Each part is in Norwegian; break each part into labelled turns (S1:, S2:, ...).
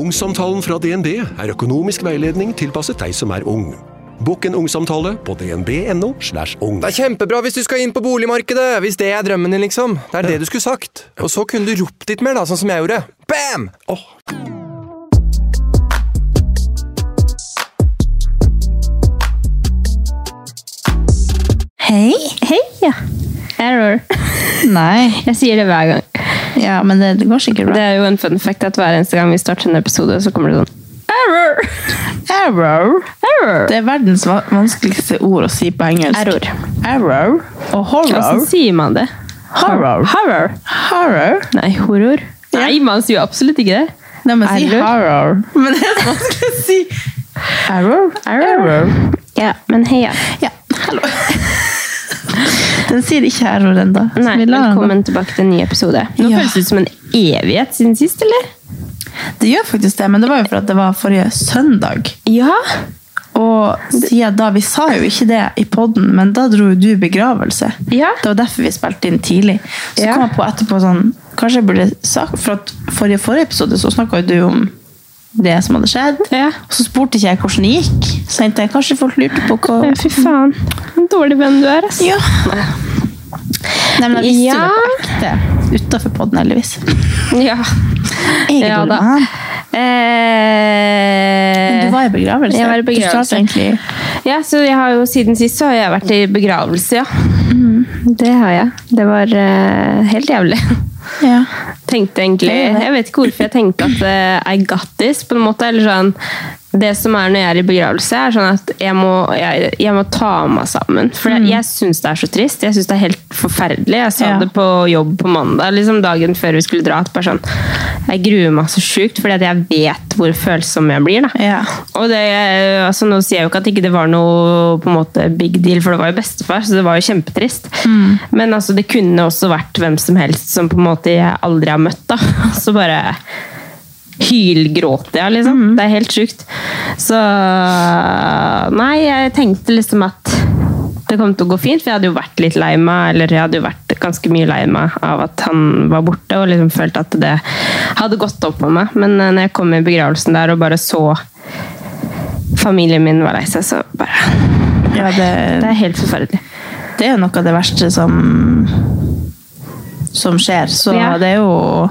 S1: Ungsamtalen fra DNB er økonomisk veiledning tilpasset deg som er ung. Bokk en ungsamtale på dnb.no. slash ung.
S2: Det er kjempebra hvis du skal inn på boligmarkedet, hvis det er drømmen din, liksom. Det er det du skulle sagt. Og så kunne du ropt litt mer, da, sånn som jeg gjorde. Bam! Åh,
S3: Hei. Hei, ja. Error.
S4: Nei.
S3: Jeg sier det hver gang.
S4: Ja, men det, det går sikkert
S3: Det
S4: bra.
S3: er jo en fun fact at hver eneste gang vi starter en episode, så kommer det sånn Error!
S4: Error.
S3: Error!
S4: Det er verdens va- vanskeligste ord å si på engelsk.
S3: Error.
S4: Error. Og horror.
S3: Hvordan sier man det?
S4: Horror.
S3: Horror.
S4: Horror.
S3: Nei, horror. Nei, man sier jo absolutt ikke det.
S4: Nei, men si
S3: Error.
S4: horror. Men det er så vanskelig å si. Error. Error.
S3: Ja, men heia.
S4: Ja, hallo. Den sier ikke error ennå. så
S3: Nei,
S4: vi lar den gå.
S3: velkommen tilbake til en ny episode. Nå
S4: Ja.
S3: føles det ut som en evighet siden sist, eller?
S4: Det gjør faktisk det, men det var jo for at det var forrige søndag.
S3: Ja.
S4: Og siden da, vi sa jo ikke det i podden, men da dro jo du i begravelse.
S3: Ja.
S4: Det var derfor vi spilte inn tidlig. Så
S3: Ja.
S4: kom jeg på etterpå sånn, kanskje jeg burde sagt, for at forrige, forrige episode så snakket jo du om det som hadde skjedd.
S3: Ja.
S4: Og så spurte ikke jeg hvordan det gikk. Så tenkte jeg, kanskje folk lurte på hva...
S3: Ja, Fy faen. En dårlig venn du er, ass.
S4: Ja. Nei, men jeg visste
S3: Ja.
S4: jo det på ekte. Utenfor podden, heldigvis.
S3: Ja.
S4: Jeg
S3: Ja,
S4: ja,
S3: da. Eh,
S4: Du var i begravelse.
S3: Jeg var i
S4: Du
S3: begravelse.
S4: startet egentlig...
S3: Ja, så jeg har jo siden sist så har jeg vært i begravelse, ja. Det har jeg. Det var eh, helt jævlig.
S4: Ja.
S3: Tenkte egentlig, jeg vet ikke hvorfor jeg tenkte at eh, I got this på en måte, eller sånn, det som er når jeg er i begravelse er sånn at jeg må, jeg, jeg må ta meg sammen. For jeg, jeg synes det er så trist, jeg synes det er helt forferdelig. Jeg sa
S4: Ja.
S3: det på jobb på mandag, liksom dagen før vi skulle dra, at bare sånn, jeg gruer meg så sykt, fordi at jeg vet hvor følsom jeg blir da.
S4: Ja.
S3: Og det, altså Nå sier jeg jo ikke at ikke det var noe på en måte, big deal, for det var jo bestefar, så det var jo kjempetrist. Men altså, det kunne også vært hvem som helst som på en måte jeg aldri har møtt. da. Så bare hylgråter jeg, liksom. Det er helt sjukt. Så Nei, jeg tenkte liksom at det kom til å gå fint, for jeg hadde jo vært litt lei meg, eller jeg hadde jo vært ganske mye lei meg av at han var borte, og liksom følte at det hadde gått opp med meg. Men eh, når jeg kom i begravelsen der og bare så familien min var lei seg, så bare
S4: Ja, det,
S3: Det er helt forferdelig.
S4: det er jo noe av det verste som som skjer, så
S3: Ja.
S4: det er jo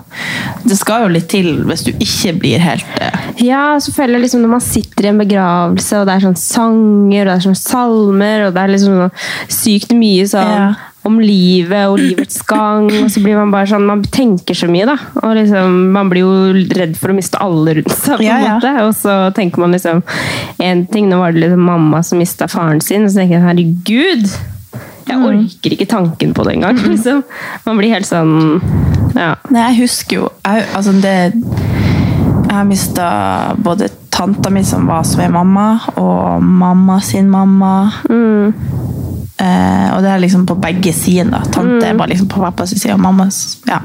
S4: det skal jo litt til hvis du ikke blir helt eh,
S3: Ja, så føler jeg liksom når man sitter i en begravelse, og det er sånn sanger, og det er sånn salmer, og det er liksom sånn sykt mye sånn
S4: Ja.
S3: om livet og livets gang, og så blir man bare sånn Man tenker så mye, da. Og liksom, man blir jo redd for å miste alle rundt seg, på en
S4: Ja, ja.
S3: måte. Og så tenker man liksom En ting, nå var det liksom mamma som mista faren sin, og så tenker jeg herregud!
S4: Mm.
S3: Jeg orker ikke tanken på det engang. Liksom. Man blir helt sånn Ja.
S4: Nei, jeg husker jo jeg, altså det jeg har mista både tanta mi som var som er mamma, og mamma sin mamma. Eh, og det er liksom på begge sider. da. Tante var liksom på pappas side, og mamma ja.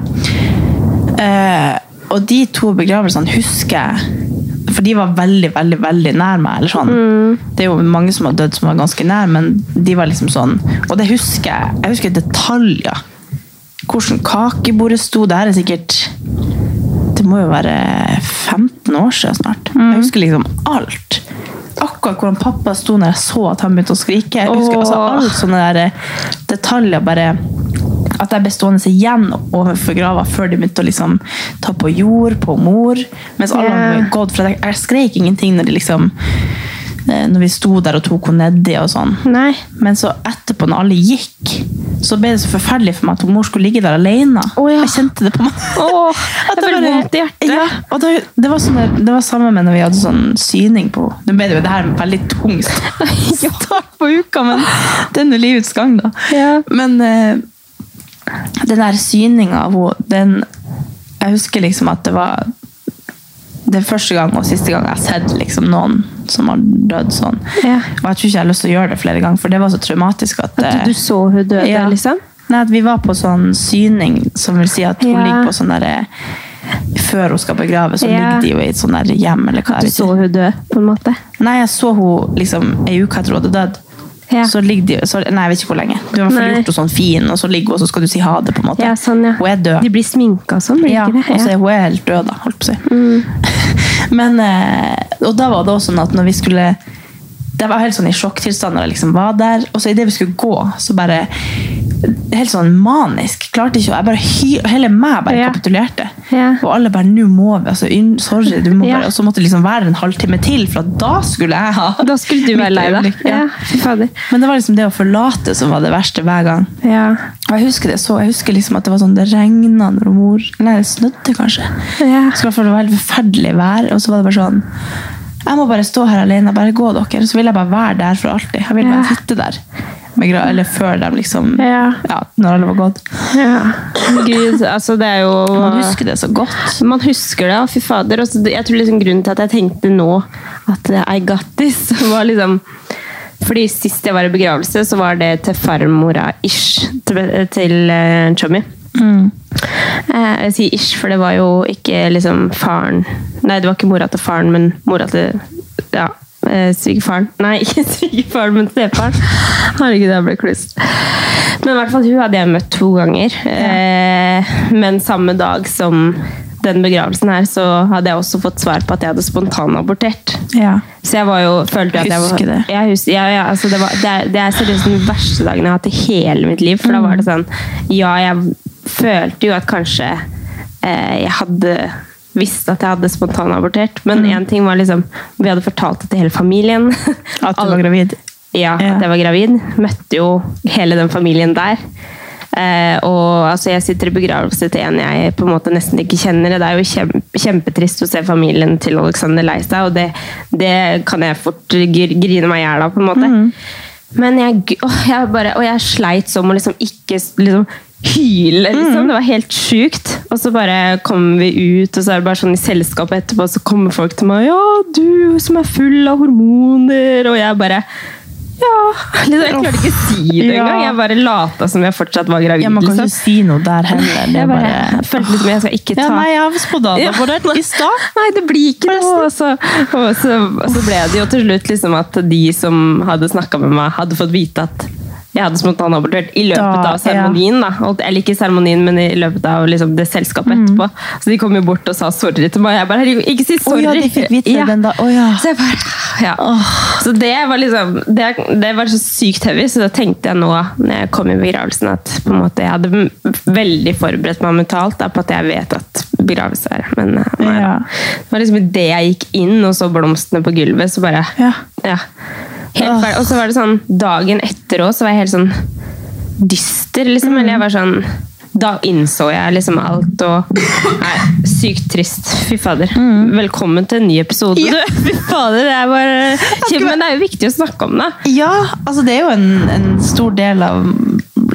S4: Eh, og de to begravelsene husker jeg For de var veldig, veldig veldig nær meg. eller sånn. Det er jo mange som har dødd som var ganske nær, men de var liksom sånn Og det husker jeg. Jeg husker detaljer. Hvordan kakebordet sto. Det her er sikkert Det må jo være 15 år siden snart. Jeg husker liksom alt. Akkurat hvordan pappa sto når jeg så at han begynte å skrike. Jeg husker altså
S3: Åh.
S4: alt sånne der eh, detaljer bare at jeg ble stående igjen overfor grava før de begynte å liksom ta på jord på mor. Mens alle
S3: Ja.
S4: hadde gått, for jeg, jeg skreik ingenting når, de liksom, eh, når vi sto der og tok henne nedi og sånn.
S3: Nei.
S4: Men så etterpå, når alle gikk, så ble det så forferdelig for meg at mor skulle ligge der alene.
S3: Å, ja.
S4: Jeg kjente det på meg.
S3: Åh,
S4: At
S3: jeg får
S4: bare-
S3: vondt i hjertet.
S4: Ja, og det, det, var sånn der, det var samme med når vi hadde sånn syning på Nå ble det jo det her en veldig tung start på uka, men det er nå livets gang, da.
S3: Ja.
S4: Men eh, den der syninga av henne, den Jeg husker liksom at det var det er første gang og siste gang jeg har sett liksom, noen som har dødd sånn.
S3: Ja.
S4: Og jeg tror ikke jeg har lyst til å gjøre det flere ganger, for det var så traumatisk at,
S3: At du så hun døde,
S4: eh, Ja.
S3: liksom?
S4: Nei, at vi var på sånn syning, som vil si at hun
S3: Ja.
S4: ligger på sånn derre Før hun skal begraves, så
S3: Ja.
S4: ligger de jo i et sånn der hjem, eller hva.
S3: At du
S4: jeg vet
S3: så
S4: ikke.
S3: hun dø, på en måte?
S4: Nei, jeg så hun liksom ei uke etter hun hadde dødd.
S3: Ja.
S4: Så ligger de, så, nei, jeg vet ikke hvor lenge. Du har i hvert fall
S3: Nei.
S4: gjort henne sånn fin, og så ligger hun, og så skal du si ha det. på en måte.
S3: Ja, sånn, ja.
S4: Hun er død.
S3: De blir sminka sånn, blir
S4: Ja,
S3: de
S4: og
S3: ikke
S4: så
S3: det?
S4: er hun helt død, da, holdt på å si.
S3: Mm.
S4: Men, eh, og da var det også sånn at når vi skulle Det var helt sånn i sjokktilstand når jeg liksom var der. Og så idet vi skulle gå, så bare Helt sånn manisk. Klarte ikke å jeg bare hy, Hele meg bare
S3: Ja.
S4: kapitulerte.
S3: Ja.
S4: Og alle bare 'Nå må vi', altså. unn- Sorry. Du må
S3: Ja.
S4: bare, Og så måtte det liksom være en halvtime til, for at da skulle jeg ha
S3: Da skulle du
S4: mitt
S3: være lei deg.
S4: øyeblikk,
S3: Ja,
S4: Ja.
S3: fy fader.
S4: Men det var liksom det å forlate som var det verste hver gang.
S3: Ja.
S4: Og jeg husker det så, jeg husker liksom at det var sånn, det regnet når mor, nei, det snødde kanskje.
S3: Ja.
S4: Så i hvert fall det var helt forferdelig vær, og så var det bare sånn, jeg må bare stå her alene, bare gå dere, så vil jeg bare være der for alltid. Jeg vil bare
S3: Ja.
S4: sitte der, med gra- eller før dem liksom,
S3: Ja.
S4: når alle var gått.
S3: ja. Gud, altså det er jo
S4: Man husker det så godt.
S3: Man husker det, og fy fader. Og så det- jeg tror liksom grunnen til at jeg tenkte nå at eh, I got this, var liksom fordi Sist jeg var i begravelse, så var det til farmora-ish til, til eh, Chummy. Eh, jeg sier ish, for det var jo ikke liksom faren Nei, det var ikke mora til faren, men mora til ja, eh, svigerfaren. Nei, ikke svigerfaren, men stefaren. Herregud, jeg ble kluss. Men i hvert fall hun hadde jeg møtt to ganger. Eh, men samme dag som den begravelsen her, så hadde jeg også fått svar på at jeg hadde spontanabortert.
S4: Ja.
S3: Så jeg var jo, følte at jeg var
S4: Husker det.
S3: Jeg husker, ja, ja, altså det, var, det, er, det er seriøst den verste dagen jeg har hatt i hele mitt liv. For da
S4: Mm.
S3: var det sånn Ja, jeg følte jo at kanskje eh, jeg hadde visst at jeg hadde spontanabortert. Men
S4: Mm.
S3: én ting var liksom Vi hadde fortalt det til hele familien.
S4: At du
S3: Alle-
S4: var gravid.
S3: ja,
S4: Ja.
S3: at jeg var gravid. Møtte jo hele den familien der. Eh, og altså, jeg sitter i begravelse til en jeg på en måte nesten ikke kjenner. Det er jo kjem, kjempetrist å se familien til Alexander lei seg, og det, det kan jeg fort gr- grine meg i hjel av, på en måte. Men jeg, g- åh, jeg bare, og jeg sleit som å liksom ikke s- liksom, hyle, liksom.
S4: Mhm.
S3: Det var helt sjukt. Og så bare kommer vi ut, og så er det bare sånn i selskapet etterpå, så kommer folk til meg Ja, du som er full av hormoner, og jeg bare ja liksom, Jeg klarte ikke å si det
S4: Ja.
S3: engang. Jeg bare lata som jeg fortsatt var gravid.
S4: Ja, man kan
S3: liksom.
S4: ikke si noe der heller. Det
S3: jeg
S4: er
S3: bare,
S4: bare...
S3: jeg følte liksom jeg skal ikke ta
S4: Ja, nei, jeg har spontanabortert i stad.
S3: Nei, det blir ikke det. Og så, og så, og så ble det jo til slutt liksom at de som hadde snakka med meg, hadde fått vite at jeg hadde spontanabortert i løpet
S4: Da,
S3: av seremonien. da. Og- Eller ikke seremonien, men i løpet av liksom, det selskapet
S4: Mm.
S3: etterpå. Så de kom jo bort og sa sorry til meg. Jeg bare "Herregud, ikke si
S4: Å
S3: sorry!
S4: ja, de fikk vite det den da. Å ja.
S3: Så jeg bare, ja. Så det var liksom det, det var så sykt heavy, så da tenkte jeg nå når jeg kom i begravelsen at på en måte, jeg hadde m- veldig forberedt meg mentalt da, på at jeg vet at begravelse er Men eh, nei,
S4: Ja.
S3: da. det var liksom idet jeg gikk inn og så blomstene på gulvet, så bare
S4: Ja.
S3: ja. Helt ferdig. Og så var det sånn dagen etter òg, så var jeg helt sånn dyster, liksom. Eller jeg var sånn da innså jeg liksom alt og Nei, sykt trist. Fy fader.
S4: Mm.
S3: Velkommen til en ny episode, du! Fy fader, det er bare Kjem, Men det er jo viktig å snakke om det.
S4: Ja, altså det er jo en, en stor del av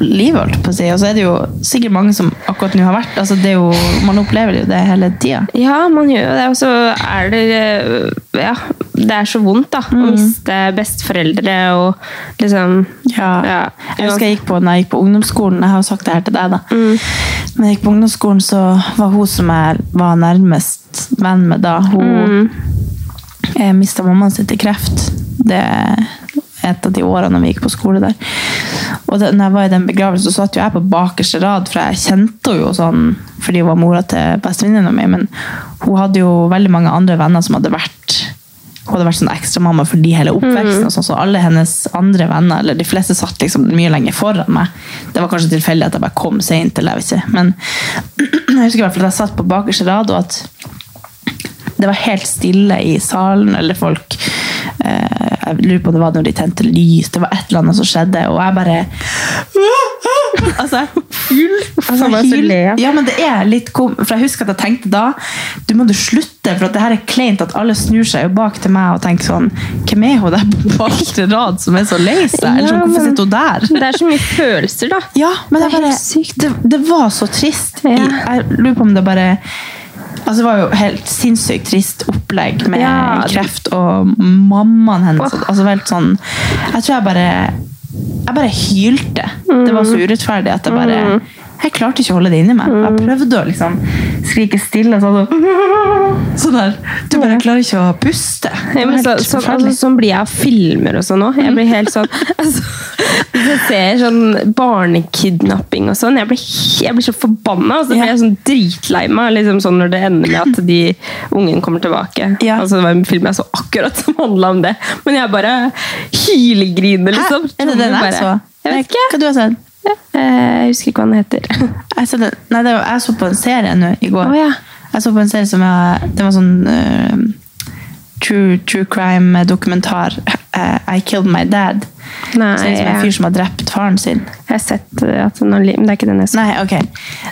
S4: livet, holdt jeg på å si. Og så er det jo sikkert mange som akkurat nå har vært altså det er jo, Man opplever jo det hele tida.
S3: Ja, man gjør jo det. Og så er det eh, Ja, det er så vondt, da.
S4: Mm.
S3: Å miste besteforeldre og liksom ja.
S4: Jeg husker jeg gikk på, når jeg gikk på ungdomsskolen Jeg har jo sagt det her til deg, da. Men jeg gikk på ungdomsskolen, så var hun som jeg var nærmest venn med da, hun mm. mista mammaen sin til kreft. Det er et av de årene vi gikk på skole der. Og da når jeg var i den begravelsen, så satt jo jeg på bakerste rad, for jeg kjente henne jo sånn fordi hun var mora til bestevenninna mi, men hun hadde jo veldig mange andre venner som hadde vært hun hadde vært sånn ekstramamma fordi hele oppveksten. og sånn, så Alle hennes andre venner, eller de fleste, satt liksom mye lenger foran meg. Det var kanskje tilfeldig at jeg bare kom seint, eller jeg vet ikke. Men jeg husker i hvert fall at jeg satt på bakerste rad, og at det var helt stille i salen, eller folk eh, Jeg lurer på om det var når de tente lys, det var et eller annet som skjedde, og jeg bare Altså, hyl. Altså,
S3: Faen, jeg er så
S4: hyl.
S3: le.
S4: Ja, men det er litt kom... For jeg husker at jeg tenkte da Du må du slutte, for at det her er kleint at alle snur seg jo bak til meg og tenker sånn Hvem er hun der på bakre rad som er så lei seg? Eller sånn,
S3: Ja,
S4: hvorfor
S3: men-
S4: sitter hun der?
S3: Det er så mye følelser, da.
S4: Ja, men det,
S3: Det er
S4: bare,
S3: helt sykt.
S4: Det, det var så trist.
S3: Ja.
S4: Jeg, jeg lurer på om det bare Altså, det var jo helt sinnssykt trist opplegg med
S3: Ja.
S4: kreft og mammaen hennes. Altså, helt sånn, jeg tror jeg bare jeg bare hylte. Det var så
S3: Mm.
S4: urettferdig at jeg bare jeg klarte ikke å holde det inni meg. Jeg prøvde å liksom skrike stille. Sånn, sånn der. Du bare klarer ikke å puste. Det
S3: Mm. Ja,
S4: var
S3: men så,
S4: helt
S3: så, altså,
S4: forferdelig.
S3: sånn blir jeg av filmer og sånn òg. Jeg blir helt sånn altså, Hvis jeg ser sånn barnekidnapping og sånn, jeg blir, he- jeg blir så forbanna. Og så blir
S4: Ja.
S3: jeg sånn dritlei meg liksom sånn når det ender med at de ungen kommer tilbake.
S4: Ja.
S3: Altså, det var en film jeg så akkurat som handla om det, men jeg bare hylegriner,
S4: Hæ?
S3: liksom.
S4: Er det den jeg
S3: Bare-
S4: så?
S3: Jeg vet ikke. Eh,
S4: Hva du har sett?
S3: Jeg husker ikke hva den heter.
S4: Jeg så, den, nei, det var, jeg så på en serie nå i går.
S3: Å, ja.
S4: Jeg så på en serie som jeg, Det var sånn eh, true, true crime-dokumentar. eh, I Killed My Dad.
S3: Nei,
S4: Så det er som en fyr som har drept faren sin.
S3: Jeg har sett eh, at den har li- Men det er ikke den jeg så.
S4: Nei, ok.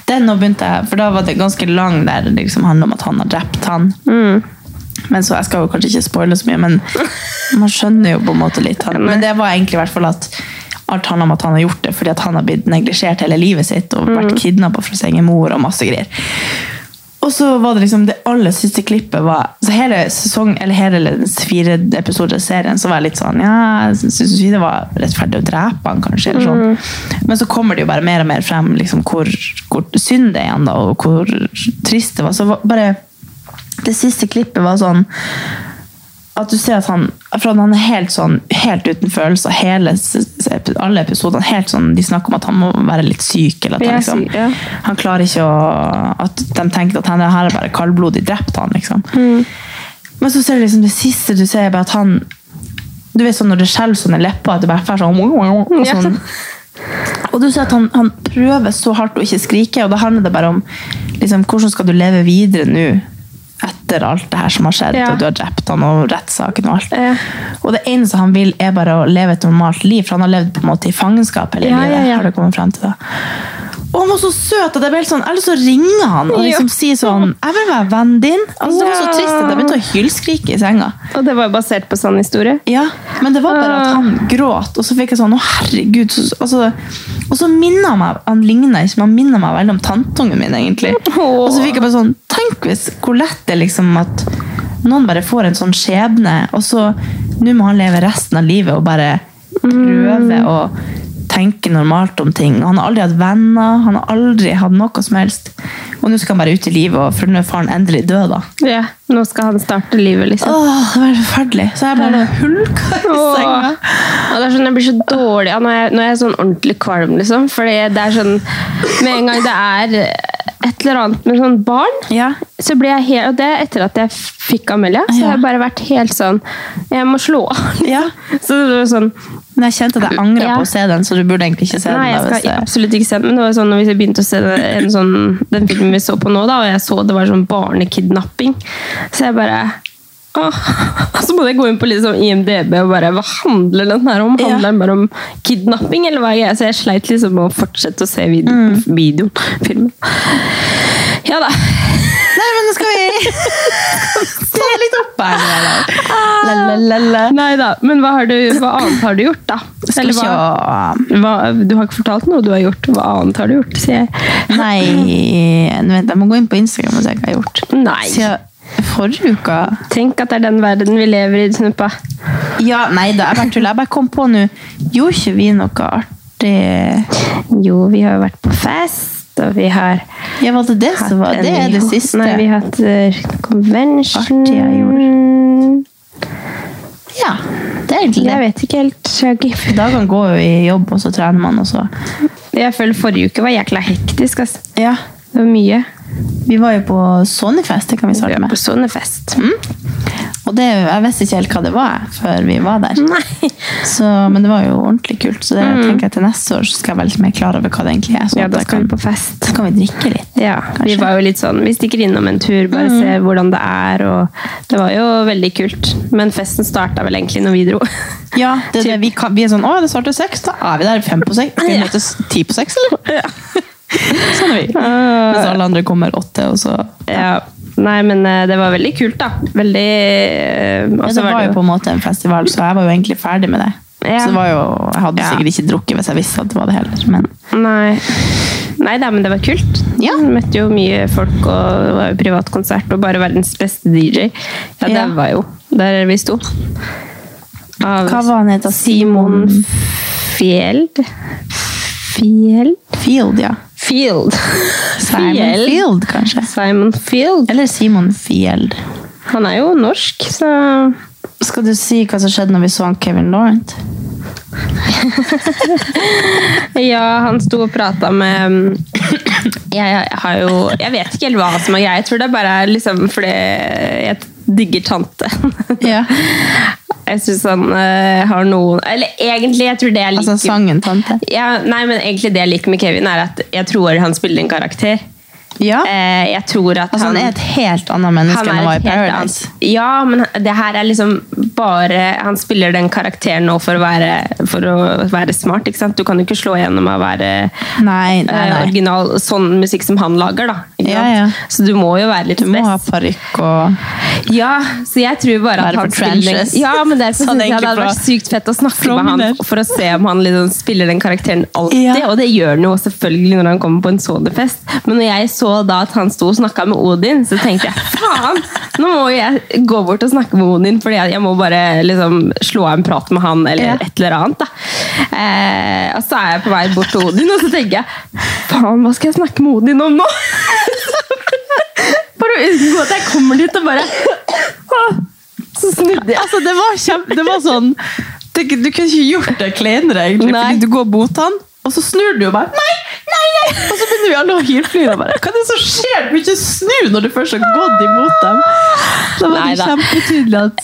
S4: Den nå begynte jeg, for da var det ganske lang der det liksom handler om at han har drept han.
S3: Mm.
S4: Men så, Jeg skal jo kanskje ikke spoile så mye, men man skjønner jo på en måte litt. Han. Men det var egentlig i hvert fall at alt handler om at han har gjort det fordi at han har blitt neglisjert hele livet sitt og vært kidnappa fra sin egen mor og masse greier. Og så var det liksom det aller siste klippet var Så hele sesong, eller hele den fire episoder av serien, så var jeg litt sånn Ja, jeg syns ikke det var rettferdig å drepe han, kanskje, eller sånn. Men så kommer det jo bare mer og mer frem liksom, hvor, hvor synd det er igjen, da, og hvor trist det var. Så var- bare Det siste klippet var sånn at du ser at han, for at han er helt sånn helt uten følelser hele, s- s- epi- alle episodene, helt sånn, de snakker om at han må være litt syk eller at han,
S3: Ja,
S4: liksom,
S3: syk, ja.
S4: han klarer ikke å at de tenker at han her er bare kaldblodig drept han liksom
S3: Mm.
S4: men så ser du liksom det siste du ser er bare at han du vet sånn når det skjelver sånn i leppa at det bare får sånn, og
S3: Ja.
S4: sånn og du ser at han, han prøver så hardt å ikke skrike, og da handler det bare om liksom, hvordan skal du leve videre nå etter alt det her som har skjedd,
S3: Ja.
S4: og du har drept han og rettssaken og alt.
S3: Ja.
S4: Og det eneste han vil er bare å leve et normalt liv, for han har levd på en måte i fangenskap hele
S3: Ja,
S4: livet.
S3: ja, ja.
S4: har det kommet frem til da. Og han var så søt at jeg ble helt sånn, jeg har lyst til å ringe han og liksom
S3: Ja.
S4: si sånn, jeg vil være vennen din. Altså, Det var så
S3: Ja.
S4: trist at jeg begynte å hylskrike i senga.
S3: Og det var jo basert på sann historie.
S4: Ja, men det var bare at han gråt, og så fikk jeg sånn, å herregud, så, altså, og så minner han meg, han ligner ikke, men han minner meg veldig om tantungen min, egentlig.
S3: Åh.
S4: Og så fikk jeg bare sånn, tenk hvis, hvor lett det er liksom at noen bare får en sånn skjebne, og så, nå må han leve resten av livet, og bare prøve å tenke normalt om ting. Han har aldri hatt venner, han har aldri hatt noe som helst. Og nå skal han bare ut i livet, og for nå er faren endelig død, da.
S3: Ja, nå skal han starte livet, liksom.
S4: Åh, det var forferdelig. Så jeg bare hulka i senga.
S3: Åh, det er sånn, jeg blir så dårlig ja, nå, er jeg, nå er jeg sånn ordentlig kvalm, liksom. Fordi det er sånn Med en gang det er et eller annet med sånn barn,
S4: Ja.
S3: så blir jeg helt Og det er etter at jeg fikk Amelia, så
S4: Ja.
S3: har jeg bare vært helt sånn Jeg må slå av. liksom.
S4: Ja.
S3: Så det var sånn
S4: Men jeg kjente at jeg angret
S3: Ja.
S4: på å se den, så du burde egentlig ikke se
S3: Nei,
S4: den. da,
S3: jeg
S4: hvis
S3: skal
S4: det-
S3: absolutt ikke se den. Men det var sånn, når vi begynte å se den, en sånn, den filmen vi så på nå, da, og jeg så det var sånn barnekidnapping, så jeg bare Åh. Så måtte jeg gå inn på litt sånn IMDb og bare Hva handler den her om? Handler den bare om kidnapping? Eller hva er greia? Så jeg sleit liksom med å fortsette å se vid
S4: Mm.
S3: videoen. Filmen. Ja da.
S4: Nei, men nå skal vi se litt opp her. nå,
S3: Ah.
S4: da. La, la, la, la.
S3: Nei da. Men hva, har du, hva annet har du gjort, da?
S4: Skal vi
S3: Eller hva,
S4: se
S3: hva, du har ikke fortalt noe du har gjort. Hva annet har du gjort? sier jeg.
S4: Nei, nå vent, jeg må gå inn på Instagram og se hva jeg har gjort.
S3: Nei.
S4: Siden forrige uka
S3: Tenk at det er den verden vi lever i, Snuppa.
S4: Ja, nei da, jeg bare tuller. Jeg bare kom på nå Gjorde ikke vi noe artig?
S3: Jo, vi har jo vært på fest, og vi har
S4: Ja, var det det
S3: hatt
S4: som var
S3: en
S4: Det er det
S3: ho-
S4: siste.
S3: Nei, vi har hatt eh, convention.
S4: Artig jeg
S3: gjorde.
S4: Ja, det er egentlig
S3: Jeg
S4: det.
S3: vet ikke helt. jeg har ikke-
S4: Dagene går jo i jobb, og så trener man, og så
S3: Jeg føler forrige uke var jækla hektisk, ass.
S4: Ja.
S3: Det var mye.
S4: Vi var jo på Sonyfest, det kan vi
S3: Vi
S4: starte med.
S3: var på sonefest.
S4: Mm. Og det, jeg visste ikke helt hva det var før vi var der.
S3: Nei. Mm.
S4: Så, men det var jo ordentlig kult, så det tenker jeg til neste år så skal jeg være litt mer klar over hva det egentlig er. sånn
S3: Ja,
S4: at
S3: da
S4: jeg
S3: skal
S4: kan,
S3: vi på fest.
S4: så kan vi drikke litt.
S3: Ja, vi
S4: Kanskje. Mm.
S3: var jo litt sånn Vi stikker innom en tur, bare ser hvordan det er, og Det var jo veldig kult. Men festen starta vel egentlig når vi dro.
S4: Ja, det, er det, vi, kan, vi er sånn Å, det starter seks, da er vi der fem på seks. Skal vi
S3: Ja.
S4: møtes ti på seks, eller? sånn er vi. Mens alle andre kommer åtte, og så
S3: Ja. Nei, men eh, det var veldig kult, da. Veldig eh, og
S4: ja,
S3: så
S4: Det var jo på en måte en festival, så jeg var jo egentlig ferdig med det.
S3: Ja.
S4: Så det var jo, Jeg hadde
S3: Ja.
S4: sikkert ikke drukket hvis jeg visste at det var det heller, men
S3: Nei. Nei da, men det var kult.
S5: Ja.
S3: Møtte jo mye folk, og det var jo privat konsert, og bare verdens beste DJ. Ja, det
S4: Ja.
S3: var jo der vi sto. Av
S4: Hva var han het? da?
S3: Simon Fjeld? Fjeld?
S4: Field, ja.
S3: Field.
S4: Simon
S3: Fjeld.
S4: Field, kanskje.
S3: Simon Field.
S4: Eller Simon Field.
S3: Han er jo norsk, så
S4: Skal du si hva som skjedde når vi så han Kevin Laurent?
S3: Ja, han sto og prata med um, jeg, jeg har jo Jeg vet ikke helt hva som er greia. Jeg tror det bare er liksom fordi jeg digger tante.
S4: Ja.
S3: Jeg syns han eh, har noen Eller egentlig, jeg tror det jeg liker
S4: Altså sangen Tante.
S3: ja, Nei, men egentlig det jeg liker med Kevin, er at jeg tror han spiller en karakter.
S4: Ja.
S3: Eh, jeg tror at
S4: Altså, han er et helt annet menneske enn han var i
S3: et helt
S4: Paradise.
S3: annet- Ja, men det her er liksom bare Han spiller den karakteren nå for å være, for å være smart. ikke sant? Du kan jo ikke slå igjennom av å være
S4: Nei, nei,
S3: eh,
S4: nei.
S3: original sånn musikk som han lager. da. ikke
S4: Ja,
S3: sant?
S4: ja.
S3: Så du må jo være litt
S4: Du må ha
S3: best.
S4: parykk og
S3: Ja, så jeg tror bare at
S4: Være
S3: han
S4: på
S3: spiller den,
S4: trenches.
S3: Ja, men
S4: Sånn
S3: derfor synes jeg det
S4: egentlig
S3: hadde
S4: fra-
S3: vært sykt fett å snakke med han
S4: Frogner.
S3: for å se om han liksom spiller den karakteren alltid.
S4: Ja.
S3: Og det gjør han jo selvfølgelig når han kommer på en sonefest. Men når jeg så da at han sto og snakka med Odin, så tenkte jeg faen! Nå må jeg gå bort og snakke med Odin, Fordi jeg, jeg må bare liksom slå av en prat med han eller
S4: Ja.
S3: et eller annet. da eh, Og så er jeg på vei bort til Odin, og så tenker jeg faen, hva skal jeg snakke med Odin om nå? Bare unngå at jeg kommer dit og bare «Åh!» Så snudde jeg.
S4: Altså, det var kjempe... Det var sånn... Du, du kunne ikke gjort det kleinere, egentlig.
S3: Nei.
S4: Fordi du går mot han, og så snur du jo bare. Nei, nei, nei! Og så begynner vi alle å hylflyre bare. Hva er det som skjer? Du vil ikke snu når du først har gått imot dem. Da var det
S3: Neida.
S4: kjempetydelig at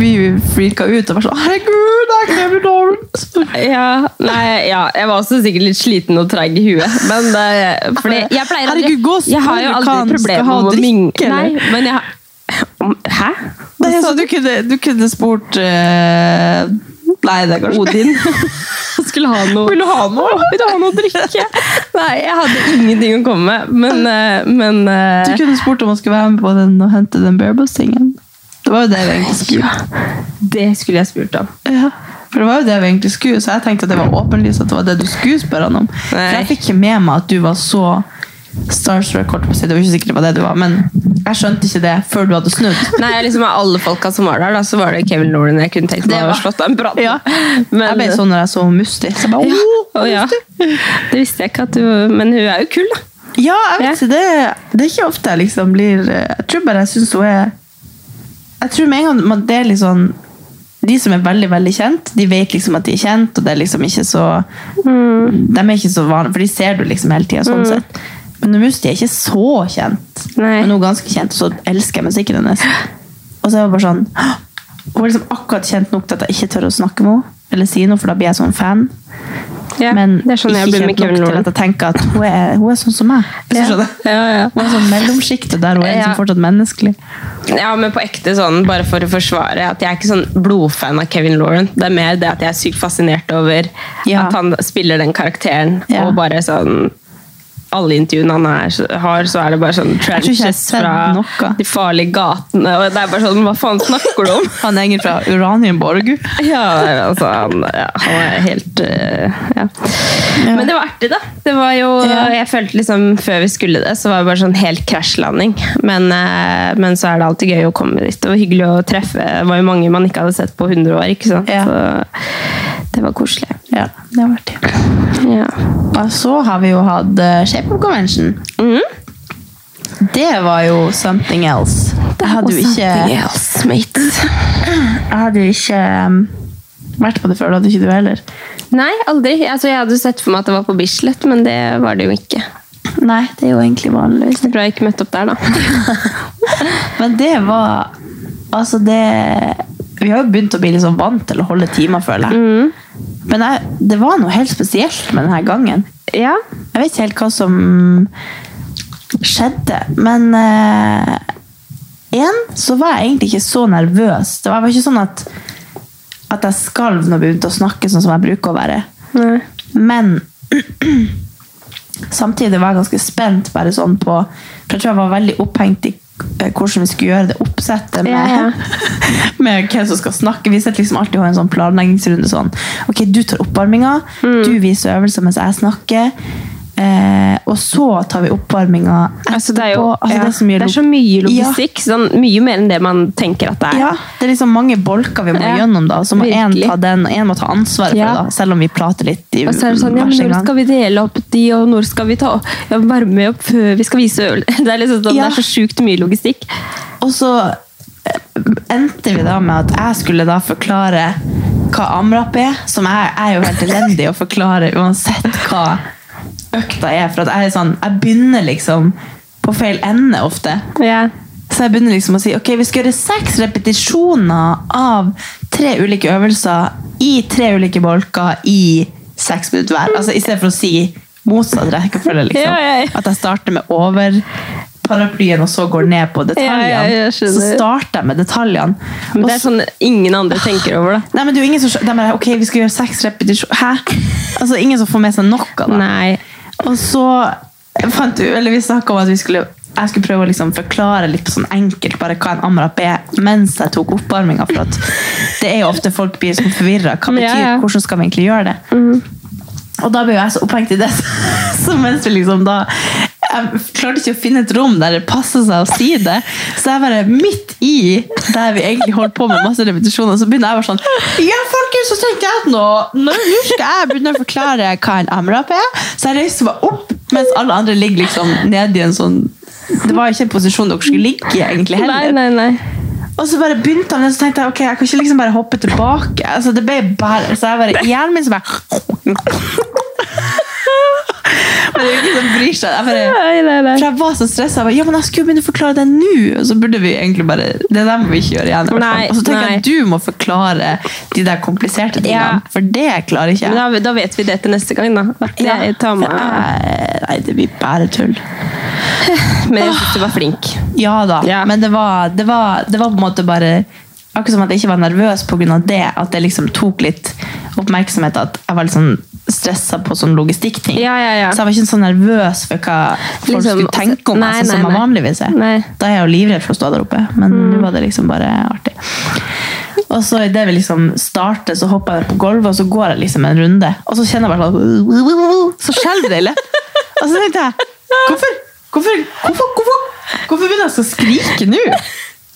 S4: vi, vi freaka ut og var sånn, herregud, det er Kevin Lawrence.
S3: Ja, nei, ja, jeg var også sikkert litt sliten og treig i huet. Men eh, fordi jeg pleier aldri
S4: Altså, Herregud, gå og
S3: Jeg har jo
S4: spør hva han skal
S3: aldri problemer
S4: ha å
S3: med å
S4: drikke,
S3: mingle. Nei,
S4: eller?
S3: men jeg om, Hæ?
S4: Nei, altså, du kunne, du kunne spurt... eh, nei, det er kanskje...
S3: Odin skulle ha noe
S4: Vil du ha noe?
S3: Vil du ha noe å drikke? Nei, jeg hadde ingenting å komme med, men, eh, men eh,
S4: Du kunne spurt om han skulle være med på den og hente den barebus-tingen. Det var jo det vi egentlig skulle.
S3: Det skulle jeg spurt om.
S4: Ja. For det var jo det vi egentlig skulle, så jeg tenkte at det var åpenlyst at det var det du skulle spørre han om. For jeg fikk ikke med meg at du var så starstruck, holdt jeg på å si. Det var ikke sikkert det var det du var, men jeg skjønte ikke det før du hadde snudd.
S3: Nei, liksom Av alle folka som var der, da, så var det Kevin Lauren jeg kunne tenkt
S4: Det
S3: meg å
S4: var-
S3: ha slått av en prat.
S4: Ja.
S3: med. Men,
S4: jeg ble sånn når jeg så Musti. Så jeg bare,
S3: Ja.
S4: «Åh,
S3: Å, ja.
S4: Musti!»
S3: Det visste jeg ikke at du Men hun er jo kul, da.
S4: ja, jeg vet ikke, det, det er ikke ofte jeg liksom blir Jeg tror bare jeg syns hun er Jeg tror med en gang man det er litt sånn de som er veldig veldig kjent, de vet liksom at de er kjent, og det er liksom ikke så De er ikke så vanlige, for de ser du liksom hele tida. Sånn sett. Men Musti er ikke så kjent,
S3: Nei.
S4: men hun er ganske kjent, og så elsker jeg musikken hennes. Og så er hun bare sånn «Hå!» Hun er liksom akkurat kjent nok til at jeg ikke tør å snakke med henne, eller si noe, for da blir jeg sånn fan.
S3: Ja,
S4: men
S3: det er sånn jeg
S4: ikke
S3: blir med
S4: kjent nok
S3: Kevin
S4: til
S3: Lauren.
S4: at jeg tenker at hun er, hun er sånn som meg. Hvis du skjønner.
S3: Ja, ja.
S4: Hun er sånn mellomsjiktet der hun er
S3: Ja.
S4: liksom fortsatt menneskelig.
S3: ja, men på ekte sånn, bare for å forsvare at jeg er ikke sånn blodfan av Kevin Lauren. Det er mer det at jeg er sykt fascinert over
S4: Ja.
S3: at han spiller den karakteren.
S4: Ja.
S3: Og bare sånn alle intervjuene han er, har, så er det bare sånn
S4: tror ikke jeg har
S3: trenches
S4: sett
S3: fra
S4: noe.
S3: de farlige gatene. Og det er bare sånn, hva faen snakker du om?
S4: Han er egentlig fra Uranienborg.
S3: Ja, altså han, ja, han er helt eh, ja. Men det var artig, da. Det var jo,
S4: Ja.
S3: Jeg følte liksom Før vi skulle det, så var det bare sånn helt krasjlanding. Men, eh, men så er det alltid gøy å komme dit. Det var hyggelig å treffe. Det var jo mange man ikke hadde sett på 100 år. ikke sant?
S4: Ja.
S3: Så det var koselig.
S4: Ja, det har vært det.
S3: Ja.
S4: Og så har vi jo hatt eh, Shape Up Convention. Det var jo something else. Jeg hadde jo ikke, jeg
S3: else, mate.
S4: hadde jo ikke um, vært på det før. Det hadde ikke du heller.
S3: Nei, aldri. Altså, jeg hadde jo sett for meg at det var på Bislett, men det var det jo ikke.
S4: Nei, det er jo egentlig vanligvis
S3: Jeg tror jeg ikke møtte opp der, da.
S4: Men det var Altså, det Vi har jo begynt å bli liksom vant til å holde timer, føler jeg. Men jeg, det var noe helt spesielt med denne gangen.
S3: Ja.
S4: Jeg vet ikke helt hva som skjedde, men eh, en, så var jeg egentlig ikke så nervøs. Det var, jeg var ikke sånn at, at jeg skalv når jeg begynte å snakke sånn som jeg bruker å være.
S3: Nei.
S4: Men samtidig var jeg ganske spent bare sånn på For jeg tror jeg var veldig opphengt i eh, hvordan vi skulle gjøre det oppsettet med,
S3: Ja, ja.
S4: med hvem som skal snakke. Vi setter liksom alltid å ha en sånn
S3: Mm.
S4: planleggingsrunde sånn. Ok, du tar oppvarminga, du viser øvelser mens jeg snakker. Eh, og så tar vi oppvarminga etterpå.
S3: Altså, det er jo
S4: Altså,
S3: ja,
S4: det er så mye
S3: logistikk. Sånn, mye mer enn det man tenker at det
S4: Ja.
S3: er.
S4: ja, det er liksom mange bolker vi må
S3: Ja.
S4: gjennom, da. Så må én
S3: Virkelig.
S4: ta den, og én må ta ansvaret
S3: Ja.
S4: for det, da. Selv om vi prater litt i
S3: Og så er det sånn, ja, men når skal vi dele opp de, og når skal vi ta ja, varme opp før vi skal vise øl? Det er liksom sånn,
S4: Ja.
S3: det er så sjukt mye logistikk.
S4: Og så eh, endte vi da med at jeg skulle da forklare hva amrap er, som jeg jeg er jo helt elendig å forklare uansett hva økta er. For at jeg er sånn, jeg begynner liksom på feil ende ofte.
S3: Ja.
S4: Så jeg begynner liksom å si ok, vi skal gjøre seks repetisjoner av tre ulike øvelser i tre ulike bolker i seks minutter hver. Altså I stedet for å si motsatt rekkefølge. Liksom.
S3: Ja, ja, ja.
S4: At jeg starter med overparaplyen og så går ned på detaljene.
S3: Ja, ja, jeg skjønner.
S4: så starter jeg med detaljene.
S3: Men
S4: Og
S3: det er sånn ingen andre tenker over det.
S4: Nei, men det er jo ingen som skjønner. De bare, ok, vi skal gjøre seks repetisjoner. Hæ? Altså, ingen som får med seg noe av det.
S3: Nei.
S4: Og så fant du, eller vi snakket om at vi skulle, jeg skulle prøve å liksom forklare litt sånn enkelt bare hva en amrap er, mens jeg tok oppvarminga, for at det er jo ofte folk blir sånn forvirret. Hva betyr,
S3: Ja, ja.
S4: hvordan skal vi egentlig gjøre det? Og da ble jo jeg så opphengt i det, så mens vi liksom da jeg klarte ikke å finne et rom der det passet seg å si det. Så jeg bare midt i der vi egentlig holdt på med masse repetisjoner, så begynner jeg bare sånn Ja, folkens, så tenkte jeg at nå, nå nå skal jeg begynne å forklare hva en amrap er. Så jeg reiser meg opp, mens alle andre ligger liksom nede i en sånn Det var jo ikke en posisjon dere skulle ligge i, egentlig
S3: Nei,
S4: heller.
S3: nei, nei.
S4: Og så bare begynte han, og så tenkte jeg ok, jeg kan ikke liksom bare hoppe tilbake. Altså, det ble bare, Så jeg bare Hjernen min så bare Men det er jo ikke som bryr seg. Jeg bare,
S3: Nei, nei, nei.
S4: for jeg var så stressa. Jeg bare, Ja, men jeg skulle jo begynne å forklare det nå! Og så burde vi egentlig bare Det der må vi ikke gjøre igjen. i hvert fall.
S3: Nei,
S4: og så tenker jeg
S3: nei.
S4: at du må forklare de der kompliserte tingene,
S3: Ja.
S4: for det klarer ikke
S3: Men
S4: jeg.
S3: da, da vet vi det til neste gang, da. At jeg tar med
S4: for jeg- Nei, det blir bare tull.
S3: Men jeg syns du var flink.
S4: Ja da,
S3: Ja.
S4: men det var, det, var, det var på en måte bare Akkurat som at jeg ikke var nervøs pga. det. At det liksom tok litt oppmerksomhet. At jeg var litt sånn stressa på sånn logistikkting.
S3: Ja, ja, ja.
S4: Så jeg var ikke så nervøs for hva folk
S3: Liksom,
S4: skulle tenke om meg,
S3: nei,
S4: sånn som
S3: nei,
S4: jeg
S3: nei.
S4: vanligvis er.
S3: Nei.
S4: Da er jeg jo livredd for å stå der oppe, men
S3: Mm.
S4: nå var det liksom bare artig. Og så idet vi liksom starter, så hopper jeg på gulvet, og så går jeg liksom en runde. Og så kjenner jeg bare sånn Så skjelver det i leppen. Og så tenkte jeg Hvorfor? Hvorfor, hvorfor, hvorfor, hvorfor begynner jeg så å skrike nå?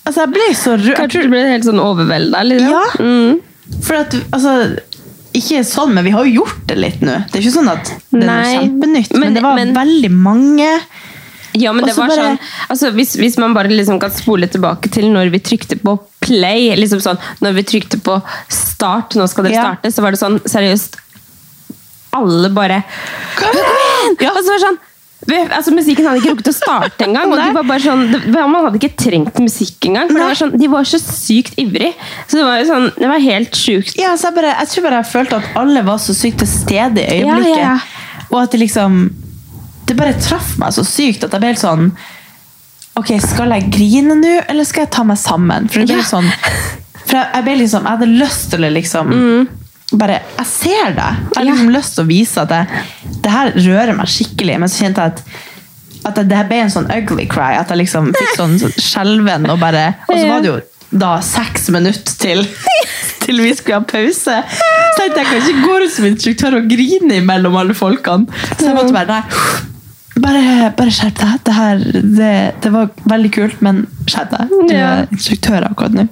S4: Altså, jeg ble så rød.
S3: Kanskje du ble helt sånn overvelda? Liksom.
S4: Ja.
S3: Mm.
S4: For at, altså, ikke sånn, men vi har jo gjort det litt nå. Det er ikke sånn at det er noe
S3: Nei.
S4: kjempenytt, men,
S3: Men-
S4: det var
S3: men-
S4: veldig mange.
S3: Ja, men
S4: Og
S3: det
S4: så
S3: var
S4: bare-
S3: sånn altså, hvis, hvis man bare liksom kan spole tilbake til når vi trykte på play liksom sånn, Når vi trykte på start, nå skal dere
S4: Ja.
S3: starte, så var det sånn seriøst Alle bare Kom igjen!
S4: Ja.
S3: Og så var det sånn vi- Altså, musikken hadde ikke rukket å starte engang. og de
S4: Nei.
S3: var bare sånn, det, man hadde ikke trengt musikk engang. For det
S4: Nei.
S3: var sånn, de var så sykt ivrig. Så det var jo sånn, det var helt sjukt.
S4: Ja, så jeg, bare, jeg tror bare jeg følte at alle var så sykt til stede i
S3: Ja,
S4: øyeblikket.
S3: ja.
S4: Og at det liksom Det bare traff meg så sykt at jeg ble helt sånn Ok, skal jeg grine nå, eller skal jeg ta meg sammen? For, det ble
S3: Ja.
S4: sånn, for jeg, jeg ble liksom Jeg hadde lyst til å liksom Bare Jeg ser deg! Jeg har
S3: Mm. Ja.
S4: liksom lyst til å vise at jeg, det her rører meg skikkelig. Men så kjente jeg at at det, det her ble en sånn ugly cry. At jeg liksom fikk sånn skjelven og bare Og så
S3: Ja.
S4: var det jo da seks minutter til til vi skulle ha pause. Så tenkte jeg kan ikke gå rundt som instruktør og grine imellom alle folkene. Så jeg måtte bare nei. Bare, bare skjerp deg. Det, her, det, det var veldig kult, men skjerp deg. Du
S3: Ja.
S4: er instruktør akkurat nå.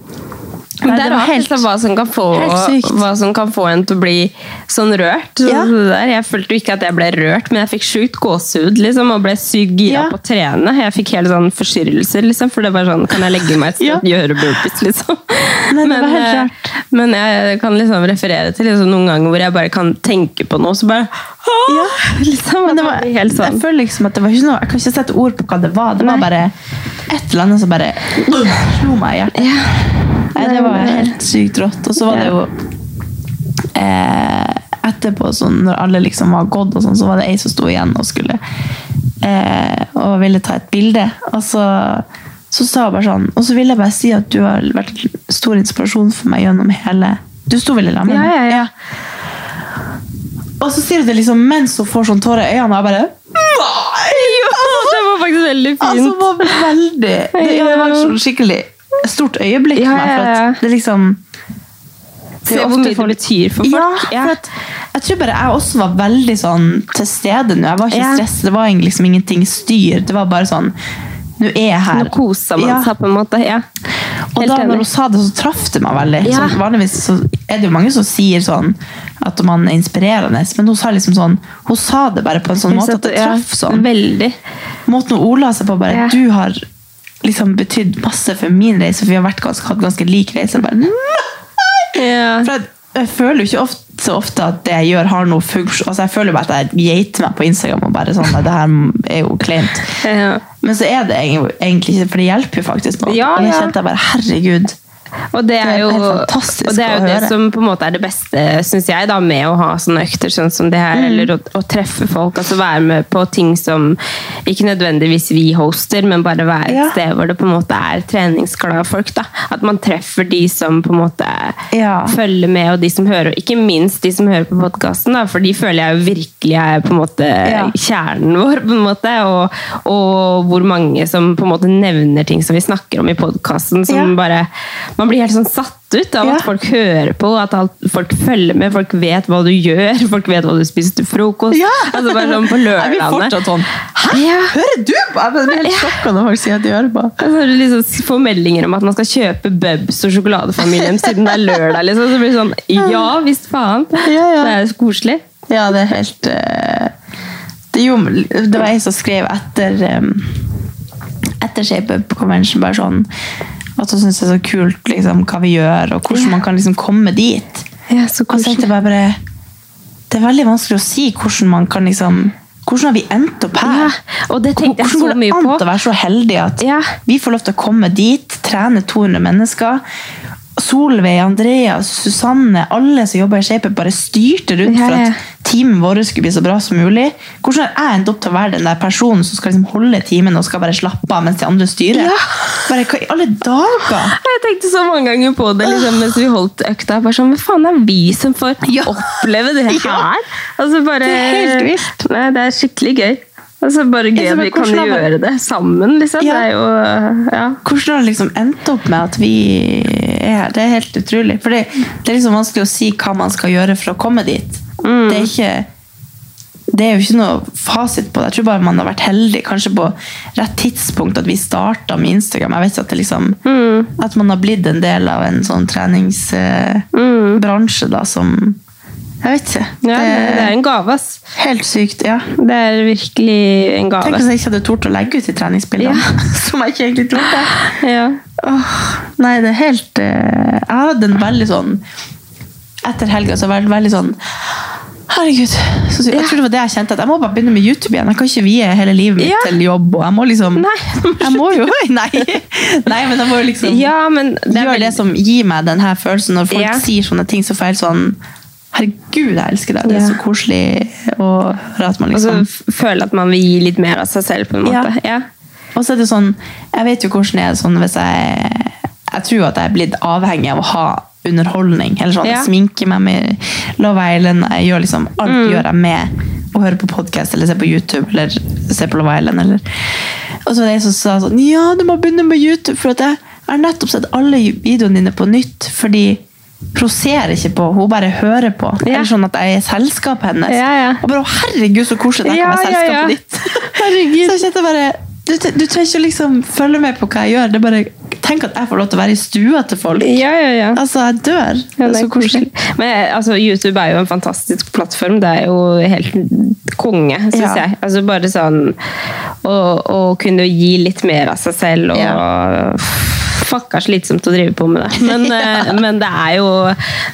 S3: Men
S4: Nei,
S3: det
S4: det
S3: er
S4: var
S3: rart
S4: helt-
S3: liksom, hva, som kan få,
S4: helt sykt.
S3: hva som kan få en til å bli sånn rørt. Så-
S4: Ja.
S3: så det der. Jeg følte jo ikke at jeg ble rørt, men jeg fikk sjukt gåsehud liksom, og ble sykt gira
S4: Ja.
S3: på å trene. Jeg fikk helt sånn forstyrrelser, liksom, for det var sånn Kan jeg legge meg et sted
S4: Ja.
S3: og gjøre burpees, liksom?
S4: Nei, det var
S3: men,
S4: helt
S3: eh,
S4: rart.
S3: men jeg kan liksom referere til liksom, noen ganger hvor jeg bare kan tenke på noe, så bare «Åh!»
S4: Ja.
S3: liksom,
S4: Men det
S3: at
S4: var,
S3: jeg blir helt sånn.
S4: Jeg føler liksom at det var ikke noe Jeg kan ikke sette ord på hva det var. Det var
S3: Nei.
S4: bare et eller annet som bare slo meg i hjertet. Nei, det var helt sykt rått. Og så var det jo eh, Etterpå, sånn, når alle liksom var gått, og sånn, så var det ei som sto igjen og skulle eh, Og ville ta et bilde. Og så, så sa hun bare sånn Og så ville jeg bare si at du har vært stor inspirasjon for meg gjennom hele Du sto vel i lag med
S3: Ja,
S4: meg?
S3: ja, ja.
S4: Og så sier hun det liksom mens hun får sånn tårer i øynene, og jeg bare Nei!
S3: Det var faktisk veldig fint.
S4: Altså, det var veldig det, ja, det var et sånn skikkelig stort øyeblikk for
S3: Ja,
S4: meg. For
S3: ja, ja.
S4: at det liksom det er
S3: Se
S4: jo
S3: hvor
S4: ofte
S3: mye det
S4: folk-
S3: betyr for folk.
S4: Ja, for at Jeg tror bare jeg også var veldig sånn til stede nå. Jeg var ikke
S3: Ja.
S4: stresset. Det var egentlig liksom ingenting styr. Det var bare sånn Nå er jeg her.
S3: Nå koser man
S4: Ja.
S3: seg på en måte. Ja.
S4: Og
S3: Helt
S4: da når
S3: enig.
S4: hun sa det, så traff det meg veldig.
S3: Ja.
S4: Sånn, vanligvis så er det jo mange som sier sånn at man er inspirerende, men hun sa liksom sånn Hun sa det bare på en sånn måte at det
S3: Ja,
S4: traff sånn.
S3: Veldig.
S4: Måten hun ordla seg på, bare
S3: Ja.
S4: Du har liksom betydd masse for min reise, for vi har vært ganske, hatt ganske lik reise. Og bare,
S3: Ja.
S4: for jeg, jeg føler jo ikke ofte, så ofte at det jeg gjør, har noe funksjon. Altså, jeg føler jo bare at jeg geiter meg på Instagram og bare sånn Nei, det her er jo kleint.
S3: Ja.
S4: Men så er det egentlig egentlig ikke, for det hjelper jo faktisk. På. en måte.
S3: Ja,
S4: og da
S3: ja.
S4: kjente jeg bare Herregud.
S3: Og
S4: Det
S3: det er
S4: er
S3: jo,
S4: helt fantastisk
S3: og det, er
S4: å
S3: jo det
S4: høre.
S3: som på en måte er det beste, syns jeg, da, med å ha sånne økter sånn som det
S4: Mm.
S3: her. Eller å, å treffe folk. altså Være med på ting som ikke nødvendigvis vi hoster, men bare være et
S4: Ja.
S3: sted hvor det på en måte er treningsglade folk. da, At man treffer de som på en måte
S4: Ja.
S3: følger med, og de som hører. Og ikke minst de som hører på podkasten, for de føler jeg jo virkelig er på en måte
S4: Ja.
S3: kjernen vår. på en måte, og, og hvor mange som på en måte nevner ting som vi snakker om i podkasten. som
S4: Ja.
S3: bare Man blir helt sånn satt ut av
S4: Ja.
S3: at folk hører på, at alt, folk følger med, folk vet hva du gjør, folk vet hva du spiser til frokost. Altså bare sånn på
S4: Jeg blir
S3: lørdagene.
S4: fortsatt sånn Hæ?
S3: Ja.
S4: Hører du på? Jeg blir helt sjokka når folk sier at de hører på.
S3: Og så er det liksom, får meldinger om at man skal kjøpe Bubs og sjokoladefamilien siden det er lørdag. Liksom. Så blir det sånn Ja visst faen!
S4: Ja, ja.
S3: Det er jo koselig.
S4: Ja, det er helt eh, det, er jo, det var jeg som skrev etter um, etter ShapeUp Convention bare sånn at hun synes det er så kult liksom, hva vi gjør, og hvordan man kan liksom komme dit.
S3: Ja, så
S4: Og så tenkte jeg bare, bare Det er veldig vanskelig å si hvordan man kan liksom Hvordan har vi endt opp her?
S3: Ja, og det tenkte jeg
S4: hvordan
S3: så mye
S4: Hvordan går det an
S3: på.
S4: til å være så heldig at
S3: Ja.
S4: vi får lov til å komme dit, trene 200 mennesker? Solveig, Andreas, Susanne, alle som jobber i Shape, bare styrte rundt
S3: Ja,
S4: for
S3: ja.
S4: at teamet vårt skulle bli så bra som mulig. Hvordan har jeg endt opp til å være den der personen som skal liksom holde timen og skal bare slappe av mens de andre styrer?
S3: Ja.
S4: Bare, hva i alle dager?
S3: Jeg tenkte så mange ganger på det liksom, mens vi holdt økta. Bare sånn, Hva faen er vi som får oppleve det her?
S4: Ja.
S3: Altså, bare,
S4: Det er helt vilt.
S3: Nei, det er skikkelig gøy. Altså, bare
S4: Jeg
S3: gøy
S4: ser
S3: at
S4: bare
S3: vi kan
S4: hvordan det er-
S3: gjøre det sammen. Liksom.
S4: Ja.
S3: Det er jo, ja.
S4: Hvordan har det liksom endt opp med at vi er her? Det er helt utrolig. For det, det er liksom vanskelig å si hva man skal gjøre for å komme dit.
S3: Mm.
S4: Det, er ikke, det er jo ikke noe fasit på det. Jeg tror bare man har vært heldig, kanskje på rett tidspunkt at vi starta med Instagram. Jeg vet ikke at, det liksom,
S3: Mm.
S4: at man har blitt en del av en sånn treningsbransje da, som Jeg vet ikke.
S3: Mm. Ja, det, det er en gave, ass.
S4: helt sykt, ja.
S3: Det er virkelig en gave.
S4: Tenk hvis jeg ikke hadde tort å legge ut de treningsbildene. Som jeg ikke egentlig torde.
S3: Ja.
S4: Åh, nei, det er helt eh, Jeg hadde en veldig sånn Etter helga så var jeg veldig sånn Herregud. Så, jeg tror det var det jeg kjente. At jeg må bare begynne med YouTube igjen. Jeg kan ikke vie hele livet mitt
S3: Ja.
S4: til jobb. Og jeg må liksom
S3: Nei.
S4: Jeg må jo Nei, nei men jeg må jo liksom
S3: ja, men det er
S4: gjøre det
S3: veldig-
S4: som gir meg den her følelsen. Når folk
S3: Ja.
S4: sier sånne ting, så får jeg helt sånn Herregud, jeg elsker deg. Det er
S3: Ja.
S4: så koselig å høre at man
S3: Altså,
S4: liksom
S3: f- føle at man vil gi litt mer av seg selv, på en måte. Ja.
S4: Og så er det sånn, jeg vet jo hvordan jeg er sånn hvis jeg Jeg tror at jeg er blitt avhengig av å ha underholdning. Eller sånn,
S3: Ja.
S4: Jeg sminker meg med Love Island. Jeg gjør liksom, alt
S3: Mm.
S4: gjør jeg med å høre på podkast eller se på YouTube eller se på Love Island. Eller. Og så var det en som sa sånn Ja, du må begynne med YouTube, for at jeg jeg har nettopp sett alle videoene dine på nytt. fordi hun ser ikke på, hun bare hører på.
S3: Ja.
S4: Eller sånn at jeg er i selskapet hennes.
S3: Ja, ja.
S4: Og bare, «Å, herregud, så koselig det er å være i
S3: Ja, ja,
S4: selskapet
S3: ja.
S4: ditt. Så jeg kjente bare du, tre- du trenger ikke å liksom følge med på hva jeg gjør. Det er bare, tenk at jeg får lov til å være i stua til folk.
S3: ja, ja, ja.
S4: Altså, jeg dør.
S3: Ja,
S4: det er så koselig.
S3: Men eh, altså, YouTube er jo en fantastisk plattform. Det er jo helt konge, syns
S4: Ja.
S3: jeg. Altså bare sånn å, å kunne gi litt mer av seg selv og Fuck, det er slitsomt å drive på med det. Men, eh, men det er jo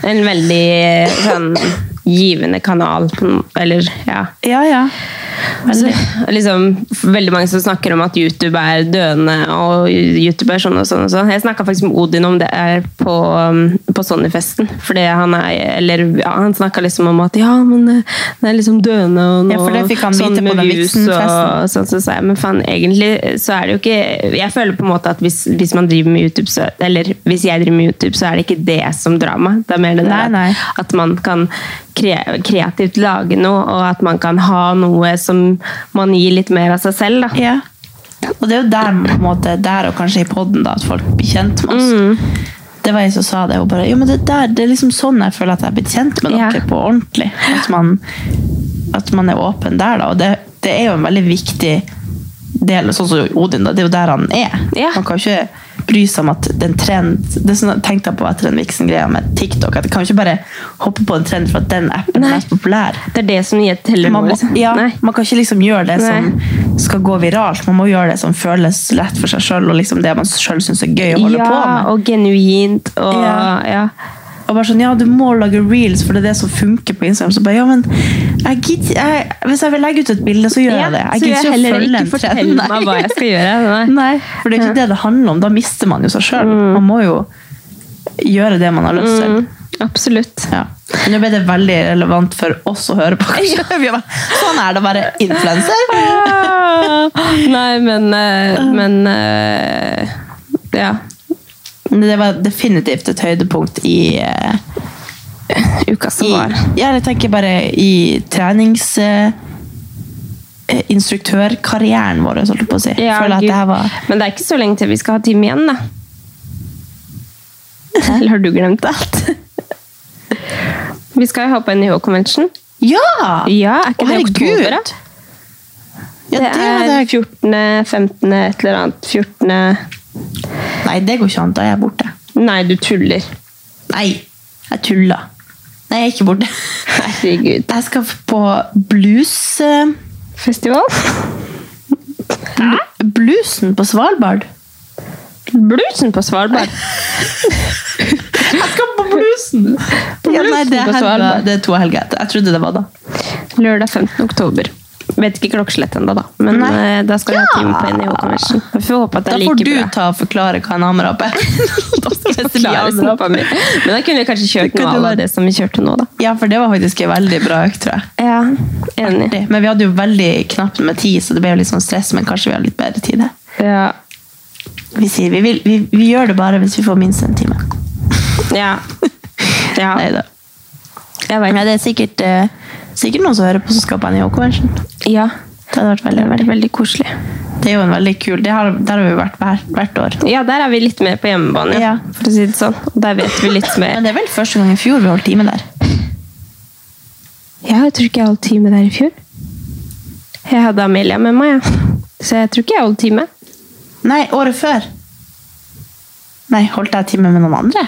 S3: en veldig eh, sånn givende kanal. på en- Eller, ja.
S4: Ja, ja.
S3: Altså, liksom, veldig mange som snakker om at YouTube er døende, og YouTube er sånn og sånn. og sånn. Jeg snakka faktisk med Odin om det her på, um, på Sony-festen. Fordi han er, eller ja, han snakka liksom om at ja, men eh, det er liksom døende og nå,
S4: Ja, for det fikk han vite på
S3: med
S4: den
S3: views
S4: vitsenfesten.
S3: og sånn. Så sa jeg, men faen, egentlig så er det jo ikke Jeg føler på en måte at hvis, hvis man driver med YouTube, så, eller hvis jeg driver med YouTube, så er det ikke det som drar meg. Det er mer det der
S4: Nei,
S3: at-
S4: nei.
S3: at man kan kre kreativt lage noe, og at man kan ha noe som man gir litt mer av seg selv. Da.
S4: Ja.
S3: Mm.
S4: Og det er jo der, på en måte, der og kanskje i podden da, at folk blir kjent med oss. det var jeg som sa det. Hun bare, jo, men det, der, det er liksom sånn jeg føler at jeg er blitt kjent med
S3: Ja.
S4: dere på ordentlig. At man, at man er åpen der, da. Og det, det er jo en veldig viktig del, sånn som Odin, da. Det er jo der han er.
S3: Ja.
S4: Man kan jo ikke bry seg om at det er en trend Det er sånn jeg tenkte på etter den Vixen-greia med TikTok, at jeg kan jo ikke bare hoppe på en trend for at den appen
S3: Nei.
S4: er mest populær.
S3: Det er det som gir teller nå,
S4: Man, må,
S3: liksom.
S4: ja,
S3: Nei.
S4: man kan ikke liksom gjøre det som skal gå viralt. Man må gjøre det som føles lett for seg sjøl, og liksom det man sjøl syns er gøy å holde
S3: ja,
S4: på med.
S3: og genuint og
S4: Ja.
S3: ja.
S4: Og bare sånn, ja, du må lage reels, for det er det som funker på Instagram. Så bare, ja, men jeg gidder, jeg, Hvis jeg vil legge ut et bilde, så gjør
S3: Ja,
S4: jeg det.
S3: så
S4: gidder
S3: jeg
S4: å
S3: heller
S4: følge
S3: ikke
S4: en trend,
S3: fortelle
S4: nei.
S3: meg hva jeg skal gjøre. Nei.
S4: Nei, for det er ikke det det handler om. Da mister man jo seg sjøl. Man må jo gjøre det man har lyst til.
S3: Mm, absolutt.
S4: Ja. Men Nå ble det veldig relevant for oss å høre på. kanskje. Vi er bare, Sånn er det å være influenser!
S3: Ah! Nei, men eh, Men eh, ja.
S4: Men det var definitivt et høydepunkt i, eh,
S3: Uka
S4: i
S3: som var.
S4: Ja, jeg tenker bare i trenings... eh, eh, Instruktørkarrieren vår, holdt jeg på å si.
S3: Ja,
S4: Føler at
S3: Gud.
S4: det her var
S3: Men det er ikke så lenge til vi skal ha time igjen, da. Eller har du glemt alt? Vi skal jo ha på NIH-convention.
S4: Ja!
S3: Ja, er ikke det
S4: Herregud!
S3: oktober, da?
S4: Ja, det, hadde
S3: er
S4: jeg gjort.
S3: 14., 15., et eller annet. 14.
S4: Nei, det går ikke an. Da er jeg borte.
S3: Nei, du tuller.
S4: Nei, jeg tulla. Nei, jeg er ikke borte.
S3: Herregud.
S4: Jeg skal på blues... eh,
S3: Festival?
S4: Bluesen på Svalbard.
S3: Bluesen på Svalbard.
S4: Jeg skal på bluesen! Ja, nei, det,
S3: Bluesen på
S4: er helga.
S3: Svalbard.
S4: det er to helger etter. Jeg trodde det var da.
S3: Lørdag 15. oktober. Vet ikke klokkeslett ennå, da. Men
S4: Nei.
S3: eh, da skal vi
S4: Ja.
S3: ha time på NIH Convention. Vi får håpe at det
S4: Da
S3: er
S4: får
S3: like
S4: du
S3: bra.
S4: ta og forklare hva en ammerap er. Da skal jeg
S3: Klare
S4: forklare snoppa
S3: snoppa mi.
S4: mi.
S3: Men da kunne vi kanskje kjørt
S4: Det kunne
S3: noe av
S4: vært-
S3: det som vi kjørte nå, da.
S4: Ja, for det var faktisk en veldig bra økt, tror jeg.
S3: Ja, enig.
S4: Artig. Men vi hadde jo veldig knapt med tid, så det ble jo litt sånn stress, men kanskje vi har litt bedre tid. her.
S3: Ja.
S4: Vi sier vi, vil, vi, vi gjør det bare hvis vi får minst en time.
S3: Ja. ja.
S4: Neida.
S3: Jeg vet.
S4: Men det er sikkert, eh, sikkert noen som hører på som skal på NIH-konvensjon.
S3: Ja.
S4: Det hadde vært
S3: Det
S4: veldig
S3: har vært
S4: artig.
S3: veldig koselig.
S4: Det er jo en veldig kul det har, Der har vi jo vært hver, hvert år.
S3: Ja, der er vi litt mer på hjemmebane, ja.
S4: Ja.
S3: for å si det sånn. Og Der vet vi litt mer.
S4: Men det er vel første gang i fjor vi holdt time der.
S3: Ja, jeg tror ikke jeg holdt time der i fjor. Jeg hadde Amelia med meg, ja. så jeg tror ikke jeg holdt time.
S4: Nei, året før. Nei, holdt jeg time med noen andre?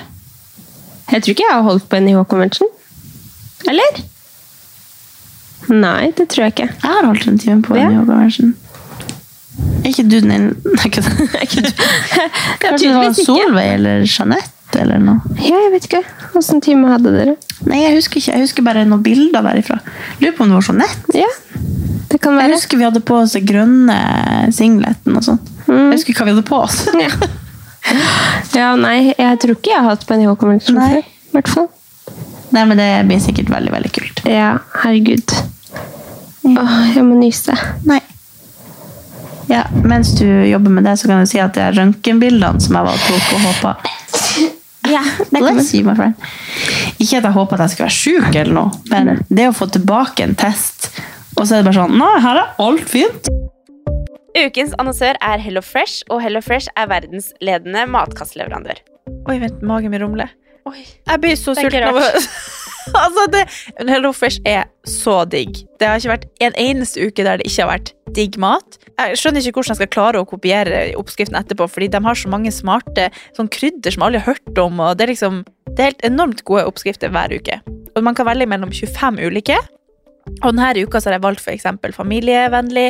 S3: Jeg tror ikke jeg har holdt på NIH-convention. Eller? Nei, det tror jeg ikke.
S4: Jeg har holdt en time på
S3: Ja.
S4: NIH-konvensjon. Er ikke du den ene? Nei, ikke det. Er ikke du. Kanskje det var
S3: tydeligvis ikke.
S4: Solveig eller Jeanette eller noe?
S3: Ja, jeg vet ikke. Åssen time hadde dere?
S4: Nei, jeg husker ikke. Jeg husker bare noen bilder derifra. Lurer på om det var Jeanette.
S3: Ja, det kan
S4: Jeg
S3: være.
S4: husker vi hadde på oss den grønne singleten og sånn. Jeg husker hva vi hadde på oss.
S3: Mm. Ja. ja, nei, jeg tror ikke jeg har hatt på NIH-convention
S4: Nei.
S3: før. I hvert fall.
S4: Nei, men det blir sikkert veldig, veldig kult.
S3: Ja, herregud. Åh, jeg må nyse.
S4: Nei. Ja, mens du jobber med det, så kan du si at det er røntgenbildene som jeg var og tok og håpa.
S3: Ja,
S4: Bless you, my friend. Ikke at jeg håper at jeg skal være sjuk eller noe, men det å få tilbake en test, og så er det bare sånn Nei, her er alt fint.
S5: Ukens annonsør er Hello Fresh, og Hello Fresh er verdensledende matkastleverandør.
S6: Oi, vent, magen min rumler.
S5: Oi,
S6: Jeg blir så
S5: Det er
S6: sulten
S5: ikke
S6: av å Altså, det Hello Fresh er så digg. Det har ikke vært en eneste uke der det ikke har vært digg mat. Jeg skjønner ikke hvordan jeg skal klare å kopiere oppskriften etterpå, fordi de har så mange smarte sånn krydder som alle har hørt om, og det er liksom Det er helt enormt gode oppskrifter hver uke. Og man kan velge mellom 25 ulike. Og denne uka så har jeg valgt for eksempel familievennlig,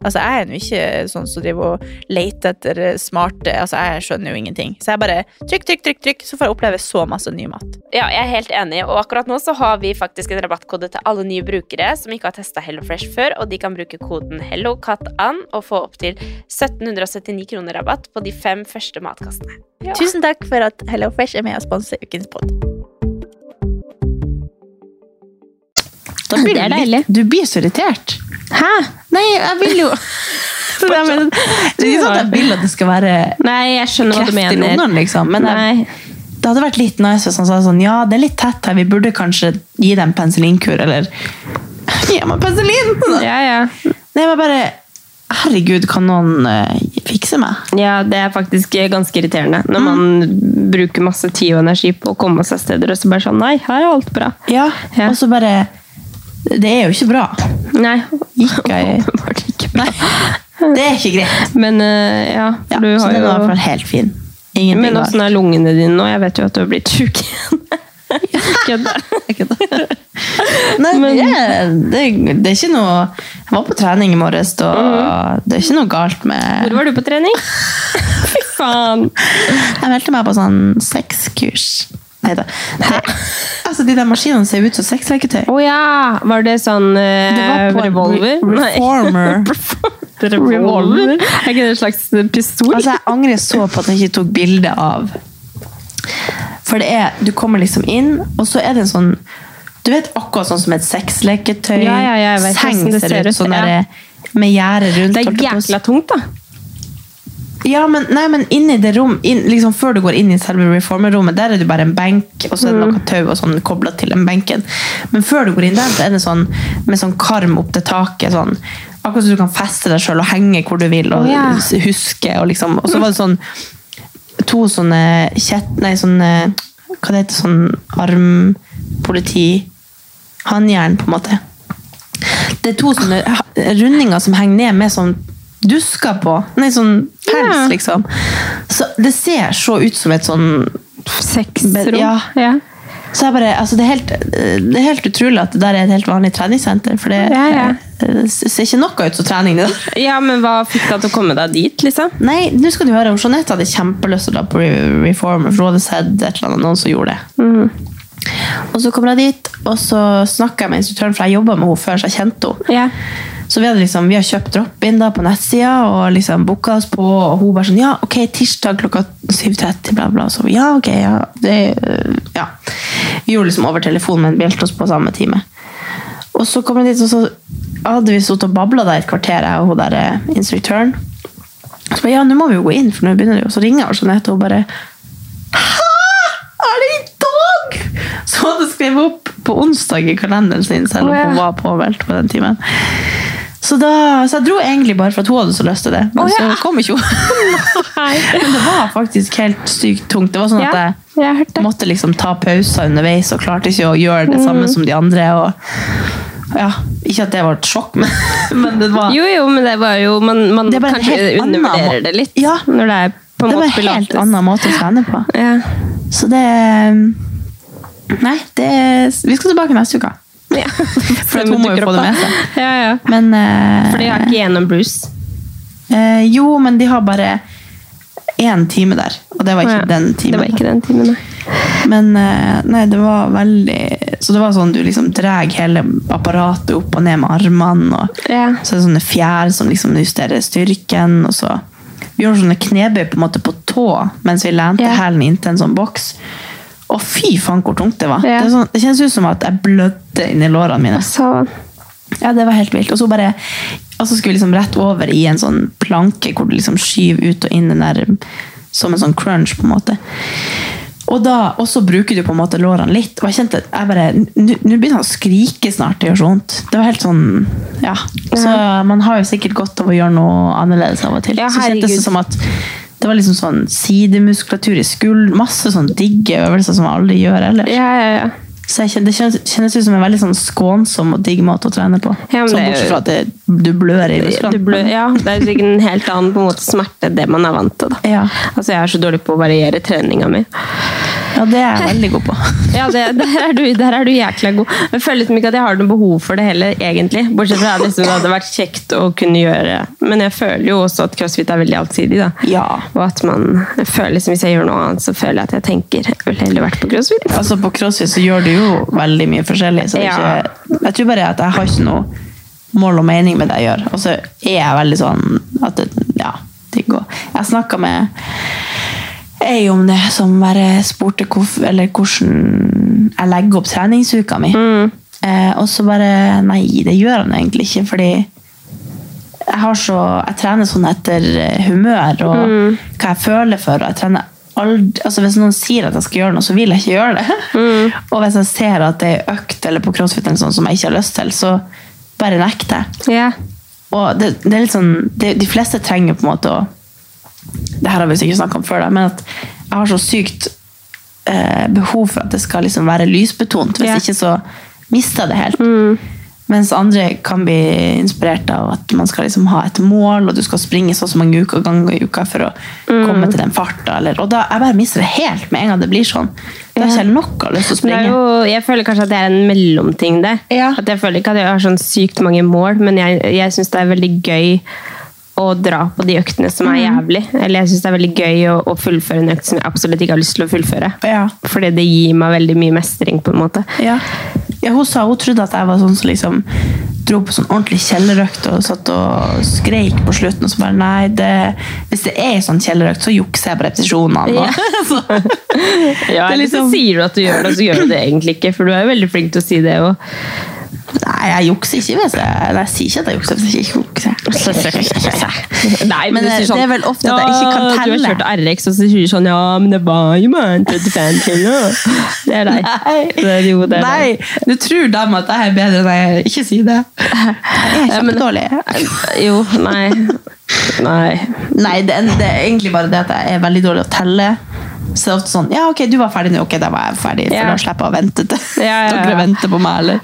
S6: altså jeg er jo ikke sånn som driver og leter etter smarte Altså jeg skjønner jo ingenting. Så jeg bare trykk, trykk, trykk, trykk, så får jeg oppleve så masse ny mat.
S5: Ja, jeg er helt enig, og akkurat nå så har vi faktisk en rabattkode til alle nye brukere som ikke har testa HelloFresh før, og de kan bruke koden HelloCatAn og få opptil 1779 kroner rabatt på de fem første matkastene.
S6: Tusen takk for at HelloFresh er med og sponser ukens pod.
S4: Da blir det er deilig. Du blir så irritert. Hæ? Nei, jeg vil jo Det er sånn at jeg vil at det skal være
S3: Nei, jeg skjønner hva du
S4: kreft i
S3: mener.
S4: lungene, liksom. Men
S3: Nei.
S4: jeg, det hadde vært litt nice hvis han sa sånn Ja, det er litt tett her, vi burde kanskje gi dem penicillinkur, eller Gi meg penicillin!
S3: Ja, ja.
S4: Nei, men bare Herregud, kan noen eh, fikse meg?
S3: Ja, det er faktisk eh, ganske irriterende
S4: Mm.
S3: når man bruker masse tid og energi på å komme seg steder, og så bare sånn Nei, her er alt bra.
S4: Ja, og så bare Det er jo ikke bra.
S3: Nei.
S4: Gikk jeg Det er ikke greit.
S3: Men eh, ja, for du
S4: så
S3: har
S4: den
S3: jo
S4: var i hvert fall helt fin. Ingenting
S3: Men
S4: var-
S3: åssen er lungene dine nå? Jeg vet jo at du har blitt sjuk igjen. Kødder.
S4: Nei, det, er- det, er- det er ikke noe Jeg var på trening i morges, og det er ikke noe galt med
S3: Mhm. Hvor var du på trening? Fy faen!
S4: Jeg meldte meg på sånn sexkurs. Nei da. Det- Altså, de der maskinene ser ut som sexleketøy.
S3: Å ja! Var det sånn eh,
S4: Det var på en
S3: revolver?
S4: re- reformer.
S3: Nei. revolver? Er ikke det en slags pistol?
S4: Altså, jeg angrer så på at jeg ikke tok bilde av For det er Du kommer liksom inn, og så er det en sånn Du vet akkurat sånn som et sexleketøy?
S3: Ja, ja, ja, jeg vet hvordan
S4: Seng
S3: det
S4: ser
S3: ser
S4: ut
S3: ut,
S4: sånn
S3: ja.
S4: derre med gjerde rundt.
S3: det er
S4: holdt jeg på å si.
S3: jækla tungt, da.
S4: Ja, men, nei, men inni det rom inn, liksom Før du går inn i selve reformerrommet, der er det bare en benk, og så er det
S3: Mm.
S4: noe tau og sånn kobla til den benken. Men før du går inn der, så er det sånn med sånn karm opp til taket. sånn Akkurat som du kan feste deg sjøl og henge hvor du vil, og
S3: Å, ja.
S4: s- huske. Og liksom, og så var det sånn to sånne kjett... Nei, sånne Hva det heter sånn armpoliti Håndjern, på en måte. Det er to sånne ha- rundinger som henger ned med sånn dusker på. Nei, sånn pels,
S3: Ja.
S4: liksom. Så det ser så ut som et sånn
S3: Sexrom.
S4: Ja.
S3: Ja.
S4: Så jeg bare, altså det, er helt, det er helt utrolig at det der er et helt vanlig treningssenter. For det,
S3: Ja, ja.
S4: det ser ikke noe ut som trening. det der.
S3: ja, men hva fikk deg til å komme deg dit, liksom?
S4: Nei, nå skal du høre, Jeanette hadde kjempelyst til å dra på Re- Reformer, for hun hadde sett et eller annet, noen som gjorde det.
S3: Mhm.
S4: Og så kom jeg dit, og så snakket jeg med instruktøren, for jeg jobbet med henne før, så jeg kjente henne.
S3: Ja.
S4: Så vi, hadde liksom, vi har kjøpt drop-in da på nettsida og liksom booka oss på. Og hun bare sånn Ja, ok, tirsdag klokka 7.30, bla, bla. Så vi, ja, ok, ja. Det, øh, ja. Vi gjorde liksom over telefon, men meldte oss på samme time. Og så kom jeg dit, og så hadde vi sittet og babla der et kvarter, jeg og hun der eh, instruktøren. Så bare, ja, nå må vi jo gå inn, for nå begynner det jo. Så ringer jeg Jeanette, og hun bare er det i dag?! Så hun hadde skrevet opp på onsdag i kalenderen sin, selv om
S3: Å, ja.
S4: hun var påmeldt på den timen. Så, da, så jeg dro egentlig bare for at hun hadde så lyst til det, men
S3: Å, ja.
S4: så kom ikke hun. men det var faktisk helt sykt tungt. Det var sånn at
S3: Ja,
S4: jeg
S3: jeg har hørt det.
S4: måtte liksom ta pauser underveis og klarte ikke å gjøre det
S3: Mm.
S4: samme som de andre. Og ja, ikke at det var et sjokk, men, men det var
S3: Jo, jo, men det var jo Man, man
S4: Det er bare en
S3: kanskje
S4: helt annen
S3: undervurderer
S4: må-
S3: det litt
S4: Ja.
S3: når det er på en
S4: det var
S3: måte
S4: en helt
S3: pilates.
S4: annen måte å trene på.
S3: Ja.
S4: Så det eh, Nei, det, vi skal tilbake neste uke.
S3: Ja.
S4: For at hun må jo få det med seg.
S3: Ja, ja.
S4: Men eh,
S3: For de har ikke gjennom blues.
S4: eh, Jo, men de har bare én time der. Og det var ikke
S3: Å, ja.
S4: den timen.
S3: Det var ikke den timen, nei.
S4: Men eh, nei, det var veldig Så det var sånn du liksom drar hele apparatet opp og ned med armene. Og,
S3: Ja.
S4: Så er det sånne fjær som liksom justerer styrken. Og så Vi gjorde sånne knebøy på en måte på tå mens vi lente
S3: Ja.
S4: hælen inntil en sånn boks. Å, fy faen, hvor tungt det var!
S3: Ja.
S4: Det, er sånn, det kjennes ut som at jeg blødde inni lårene mine.
S3: Så,
S4: Ja, det var helt vilt. Og så bare og så skulle vi liksom rett over i en sånn planke hvor du liksom skyver ut og inn den der som en sånn crunch, på en måte. Og, da, og så bruker du på en måte lårene litt. Og jeg kjente at jeg bare Nå nå begynner han å skrike snart. Det gjør så vondt. Det var helt sånn Ja. Så man har jo sikkert godt av å gjøre noe annerledes av og til.
S3: Ja,
S4: så kjentes
S3: herregud.
S4: det som at det var liksom sånn sidemuskulatur i skulder. Masse sånn digge øvelser som jeg aldri gjør ellers. Så jeg kjen- det kjennes, kjennes ut som en veldig sånn skånsom og digg måte å trene på.
S3: Ja, men
S4: sånn,
S3: det er
S4: bortsett
S3: jo-
S4: fra at det, du blør i musklene.
S3: Du blø- ja, det er sikkert en helt annen på en måte, smerte enn det man er vant til. Da. Altså, jeg er så dårlig på å variere treninga mi.
S4: Ja, det er jeg veldig god på.
S3: ja, det, der, er du, der er du jækla god. Men jeg føler liksom ikke at jeg har noe behov for det heller, egentlig. Bortsett fra at liksom, det hadde vært kjekt å kunne gjøre. Men jeg føler jo også at crossfit er veldig allsidig. Da. Og at man jeg føler liksom, Hvis jeg gjør noe annet, så føler jeg at jeg tenker Jeg ville heller vært på crossfit.
S4: Altså På crossfit så gjør du jo veldig mye forskjellig. Så det er
S3: Ja.
S4: ikke, jeg tror bare at jeg har ikke noe mål og mening med det jeg gjør. Og så er jeg veldig sånn at det, ja, det går. Jeg snakka med ei om det, som bare spurte hvorf- eller hvordan jeg legger opp treningsuka mi.
S3: Mm.
S4: Eh, og så bare Nei, det gjør han egentlig ikke, fordi jeg, har så, jeg trener sånn etter eh, humør og hva jeg føler for. Og jeg trener aldri, altså hvis noen sier at jeg skal gjøre noe, så vil jeg ikke gjøre det. og hvis jeg ser at det er ei økt eller på crossfit eller sånn som jeg ikke har lyst til, så bare nekter jeg. Og det, det er litt sånn, det, de fleste trenger på en måte å Det her har vi sikkert snakka om før, da, men at jeg har så sykt eh, behov for at det skal liksom være lysbetont. Hvis ikke så mister jeg det helt.
S3: Mm.
S4: Mens andre kan bli inspirert av at man skal liksom ha et mål, og du skal springe så og så mange uker ganger i uka for å
S3: Mm.
S4: komme til den farta. Eller, og da jeg bare mister det helt med en gang det blir sånn. Da har ikke jeg noe lyst til å
S3: Det er
S4: springe.
S3: jo, jeg føler kanskje at det er en mellomting der. At jeg føler ikke at jeg har sånn sykt mange mål, men jeg, jeg syns det er veldig gøy å dra på de øktene som
S4: Mm.
S3: er jævlig. Eller jeg syns det er veldig gøy å, å fullføre en økt som jeg absolutt ikke har lyst til å fullføre. Fordi det gir meg veldig mye mestring, på en måte.
S4: Ja. Ja, hun sa hun trodde at jeg var sånn som liksom dro på sånn ordentlig kjellerøkt og satt og skreik på slutten. Og så bare nei, det, hvis det er en sånn kjellerøkt, så jukser jeg på repetisjonene.
S3: Ja.
S4: og-
S3: Ja,
S4: Det er
S3: eller så
S4: liksom-
S3: sier du at du gjør det, og så gjør du det egentlig ikke. For du er jo veldig flink til å si det. Og,
S4: Nei, jeg jukser ikke. Hvis jeg, nei, jeg sier ikke at jeg jukser. Hvis jeg ikke jukser.
S3: Nei,
S4: men
S3: du
S4: det,
S3: sier sånn,
S4: det er vel ofte at jeg ikke kan
S3: «Ja, Du har
S4: telle.
S3: kjørt RX, og så sier du sånn Ja, men det var jo bare 35 kilo. Det er deg. Det er, jo, det er
S4: Nei, du tror dem at jeg er bedre enn jeg er. Ikke si det. Jeg er
S3: Ja, men-
S4: kjempedårlig.
S3: deg. Jo, nei. Nei.
S4: Nei, det, er- det er egentlig bare det at jeg er veldig dårlig å telle. Så det er ofte sånn Ja, ok, du var ferdig nå. Ok, da var jeg ferdig. For
S3: Ja.
S4: da slipper jeg å vente til
S3: Ja, ja, ja.
S4: dere venter på meg, eller?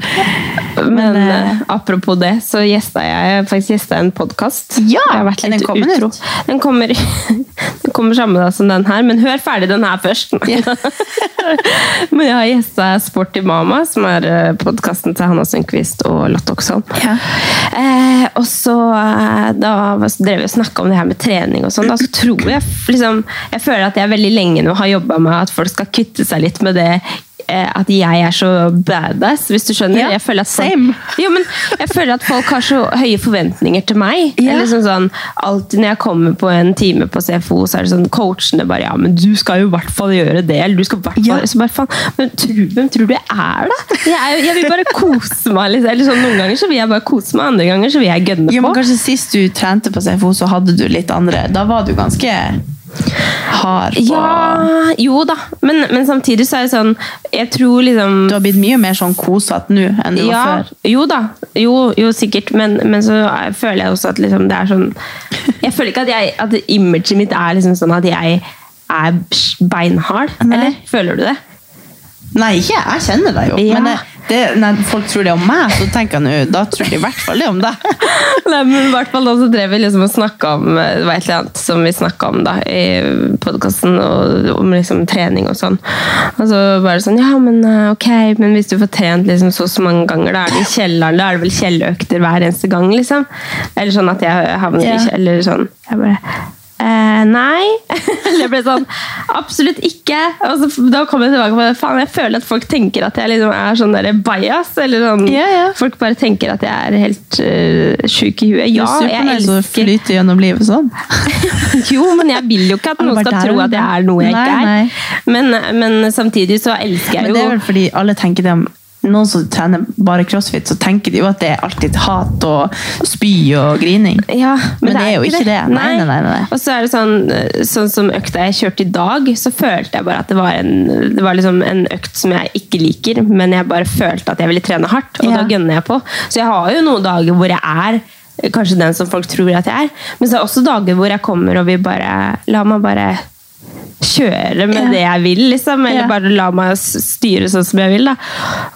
S3: Men eh, apropos det, så gjesta jeg faktisk gjesta en podkast.
S4: Ja,
S3: jeg har vært
S4: den
S3: litt
S4: kommer
S3: utro. Den kommer, den kommer samme dag som den her, men hør ferdig den her først. men jeg har gjesta Sporty Mama, som er podkasten til Hanna Sundquist og Lotte Oksholm. Eh, og så eh, da var- så drev vi og snakka om det her med trening og sånn. Da så tror jeg liksom Jeg føler at jeg veldig lenge nå har jobba med at folk skal kutte seg litt med det eh, at jeg er så badass, hvis du skjønner. jeg, føler at folk, jo, men jeg føler at folk har så høye forventninger til meg. Eller sånn, sånn, alltid når jeg kommer på en time på CFO, så er det sånn coachene bare Ja, men du skal jo i hvert fall gjøre det. Eller du skal i hvert fall så bare, faen, Men tro- hvem tror du jeg er, da? Jeg, er, jo- jeg vil bare kose meg. Liksom. Eller sånn, noen ganger så vil jeg bare kose meg, andre ganger så vil jeg gønne
S4: Ja, men
S3: på.
S4: kanskje sist du trente på CFO, så hadde du litt andre Da var du ganske hard på
S3: Ja, jo da, men, men samtidig så er det sånn Jeg tror liksom
S4: Du har blitt mye mer sånn kosete nå enn du var før.
S3: Jo da, jo, jo sikkert, men, men så er- føler jeg også at liksom det er sånn Jeg føler ikke at, jeg, at imaget mitt er liksom sånn at jeg er beinhard. Eller føler du det?
S4: Nei, ikke jeg. Jeg kjenner deg jo.
S3: Ja.
S4: Men det, det, når folk tror det om meg, så tenker jeg nå Da tror de i hvert fall det om deg.
S3: Nei, men i hvert fall da så drev vi liksom og snakka om eh, Det var et eller annet som vi snakka om da i podkasten, om liksom trening og sånn. Og så var det sånn Ja, men eh, ok, men hvis du får trent liksom så og så mange ganger, da er det i kjelleren, da er det vel kjellerøkter hver eneste gang, liksom? Eller sånn at jeg havner
S4: Ja.
S3: i kjeller eller sånn. Jeg bare Eh, nei. Eller jeg ble sånn Absolutt ikke. Og så, da kom jeg tilbake på det. Faen, jeg føler at folk tenker at jeg liksom er sånn der bias. Eller sånn, Folk bare tenker at jeg er helt uh, sjuk i huet. Ja,
S4: du er
S3: jeg
S4: supernice og
S3: elsker
S4: flyter gjennom livet sånn.
S3: Jo, men jeg vil jo ikke at
S4: Han
S3: noen
S4: var
S3: skal
S4: der,
S3: tro
S4: han der.
S3: at jeg er noe jeg
S4: Nei,
S3: ikke er. Men, men samtidig så elsker jeg
S4: Men
S3: jo
S4: det er vel fordi alle tenker det om noen som trener bare crossfit, så tenker de jo at det er alltid hat og spy og grining. men, det er jo ikke det. Nei, nei, nei, nei.
S3: Og så er det sånn, eh, sånn som økta jeg kjørte i dag, så følte jeg bare at det var, en, det var liksom en økt som jeg ikke liker, men jeg bare følte at jeg ville trene hardt, og da gønner jeg på. Så jeg har jo noen dager hvor jeg er eh, kanskje den som folk tror at jeg er, men så er det også dager hvor jeg kommer og vil bare La meg bare kjøre med det jeg vil, liksom. Eller bare la meg s- styre sånn som jeg vil, da.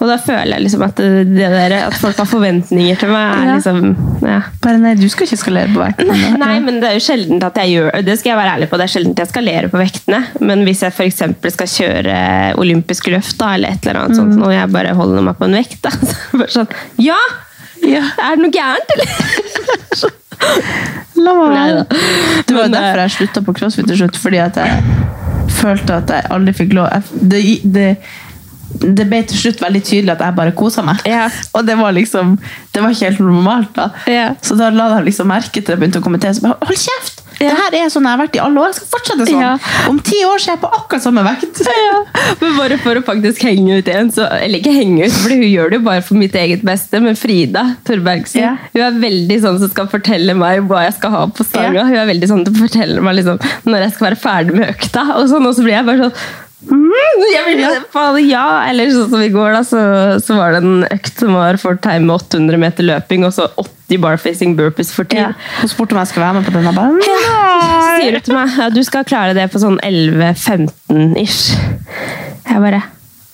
S3: Og da føler jeg liksom at det det der, at folk har forventninger til meg, er
S4: Ja.
S3: liksom ja.
S4: Bare nei, du skal ikke skalere på vekten.
S3: Nei, nei, men det er jo sjeldent at jeg gjør Det skal jeg være ærlig på, det er sjeldent jeg skalerer på vektene. Men hvis jeg f.eks. skal kjøre olympisk løft, da, eller et eller annet sånt,
S4: Mhm.
S3: når jeg bare holder meg på en vekt, da, så er det bare sånn Ja! Er det noe gærent, eller?
S4: La meg være. Det var jo
S3: eh,
S4: derfor jeg slutta på crossfit til slutt, fordi at jeg følte at jeg aldri fikk lov jeg- Det, det, det ble til slutt veldig tydelig at jeg bare kosa meg. Og det var liksom Det var ikke helt normalt, da. Så da la jeg liksom merke til det begynte å kommentere. Så bare, Hold kjeft! Det her er sånn jeg har vært i alle år. Jeg skal fortsette sånn. Om ti år så er jeg på akkurat samme vekt.
S3: Men bare for å faktisk henge ut en, så, eller ikke henge ut, for hun gjør det jo bare for mitt eget beste, men Frida Torbergsen, hun er veldig sånn som skal fortelle meg hva jeg skal ha på stanga. Hun er veldig sånn til å fortelle meg liksom, når jeg skal være ferdig med økta, og sånn, og så blir jeg bare sånn «Mm, jeg vil, faen, ja, eller sånn som i går da, så, så var det en økt som var for time med 800 meter løping, og så 80 barfacing burpees for tid.
S4: Hun spurte om jeg skulle være med på denne ballen.
S3: Så sier du til meg ja, du skal klare det på sånn 11-15-ish. Jeg bare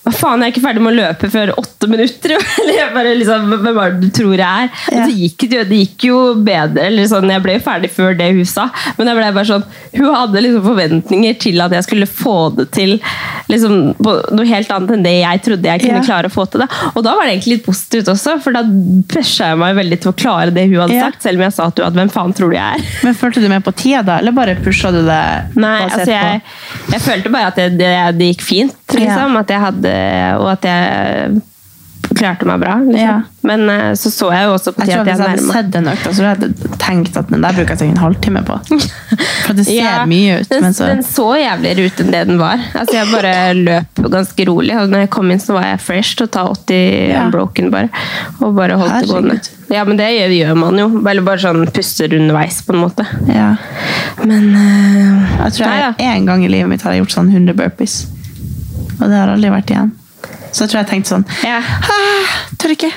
S3: Hva faen, jeg er ikke ferdig med å løpe før åtte minutter! jo». Eller jeg bare liksom, Hvem er det du tror jeg er? Men så gikk det, jo- det gikk jo bedre. eller sånn, Jeg ble jo ferdig før det hun sa. Men jeg ble bare sånn, hun hadde liksom forventninger til at jeg skulle få det til liksom, på noe helt annet enn det jeg trodde jeg kunne
S4: Ja.
S3: klare å få til. det. Og da var det egentlig litt positivt også, for da pusha jeg meg veldig til å klare det hun hadde
S4: Ja.
S3: sagt. Selv om jeg sa til henne at hvem faen tror du jeg er?
S4: Men Fulgte du med på tida da, eller bare pusha du det?
S3: Nei,
S4: basert
S3: altså jeg, jeg følte bare at det, det, det gikk fint, liksom. At jeg hadde, og at jeg klarte meg bra. Liksom.
S4: Ja.
S3: Men eh, så så jeg jo også på
S4: Jeg
S3: tida
S4: tror
S3: at
S4: at Hvis
S3: jeg
S4: jeg hadde
S3: nærma
S4: sett den økta, så hadde jeg tenkt at den der bruker jeg sikkert en halvtime på. For det ser
S3: Ja,
S4: mye ut.
S3: Den,
S4: Men så,
S3: den så jævligere ut enn det den var. Altså Jeg bare løp ganske rolig. Og når jeg kom inn, så var jeg fresh til å ta 80
S4: Ja.
S3: unbroken. bare Og bare holdt det gående. Ja, men det gjør, gjør man jo. Eller bare sånn puster underveis, på en måte.
S4: ja.
S3: Men eh,
S4: Jeg tror
S3: nei,
S4: jeg en gang i livet mitt har jeg gjort sånn 100 burpees. Og det har aldri vært igjen. Så jeg tror jeg tenkte sånn «Ah, Tør ikke.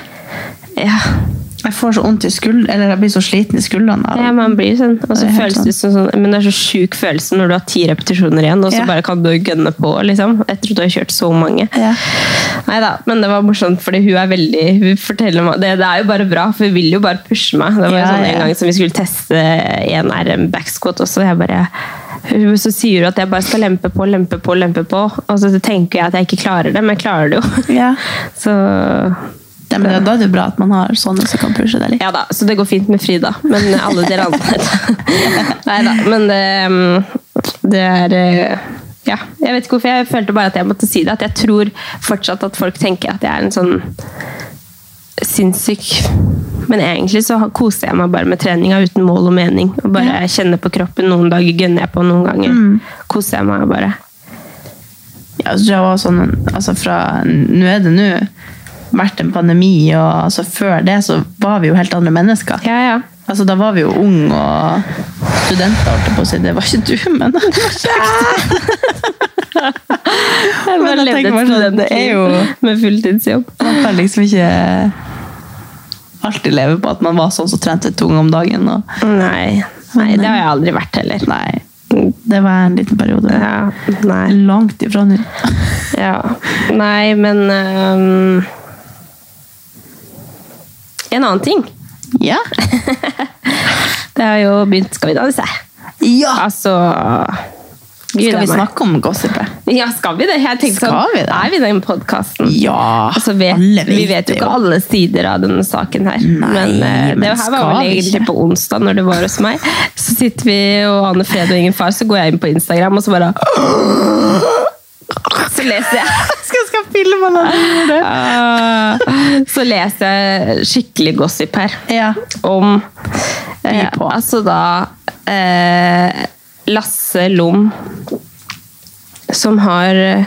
S4: Jeg får så vondt i skulderen, eller jeg blir så sliten i skuldrene. av det.
S3: Ja, man blir sånn. Og
S4: Det
S3: så
S4: er helt
S3: føles det som sånn, men det er så sjuk følelse når du har ti repetisjoner igjen, og så
S4: Ja.
S3: bare kan du gønne på, liksom. Etter at du har kjørt så mange. Nei da, men det var morsomt, fordi hun er veldig Hun forteller meg Det, det er jo bare bra, for hun vil jo bare pushe meg. Det var jo
S4: Ja,
S3: sånn
S4: ja.
S3: en gang som vi skulle teste en RM backsquat også, og jeg bare hun så sier hun at jeg bare skal lempe på, lempe på, lempe på. Og så tenker jeg at jeg ikke klarer det, men jeg klarer det jo. Så
S4: Ja, men da er det bra at man har sånne som kan pushe deg litt.
S3: ja da, så det går fint med Frida, men alle dere andre Nei da, men det, um, det er eh, Ja, jeg vet ikke hvorfor. Jeg følte bare at jeg måtte si det. At jeg tror fortsatt at folk tenker at jeg er en sånn sinnssyk Men egentlig så har- koser jeg meg bare med treninga uten mål og mening. Og bare kjenner på kroppen. Noen dager gønner jeg på, noen ganger
S4: Mm.
S3: koser jeg meg bare.
S4: Ja, så tror jeg var sånn, altså fra, nå er det nå vært en pandemi, og altså før det så var vi jo helt andre mennesker. Altså da var vi jo ung og studenter, holdt jeg på å si. Det var ikke du, men
S3: Jeg bare
S4: Men jeg
S3: levde
S4: tenker
S3: et
S4: bare sånn, det er jo
S3: studentliv med fulltidsjobb.
S4: Man kan liksom ikke alltid leve på at man var sånn som trente tung om dagen. Og...
S3: Nei. Nei, det har jeg aldri vært heller.
S4: Nei. Det var en liten periode. Langt ifra nå.
S3: Ja. Nei, men ehm, En annen ting.
S4: Ja.
S3: det har jo begynt Skal vi danse?
S4: Ja!
S3: Altså
S4: Skal vi snakke om gossipet?
S3: Ja, skal vi det? Jeg tenkte
S4: Skal
S3: sånn,
S4: vi det?
S3: Er vi den podkasten?
S4: Ja,
S3: altså, vet,
S4: alle vet
S3: Vi vet jo
S4: det
S3: ikke
S4: jo.
S3: alle sider av denne saken her. men, eh,
S4: men
S3: det her var
S4: skal
S3: vel
S4: vi
S3: egentlig
S4: ikke?
S3: på onsdag, når du var hos meg. Så sitter vi og aner fred og ingen far, så går jeg inn på Instagram, og så bare Så leser jeg.
S4: skal, skal filme
S3: Ah, Så leser jeg skikkelig gossip her om eh, Altså da eh, Lasse Lom, som har eh,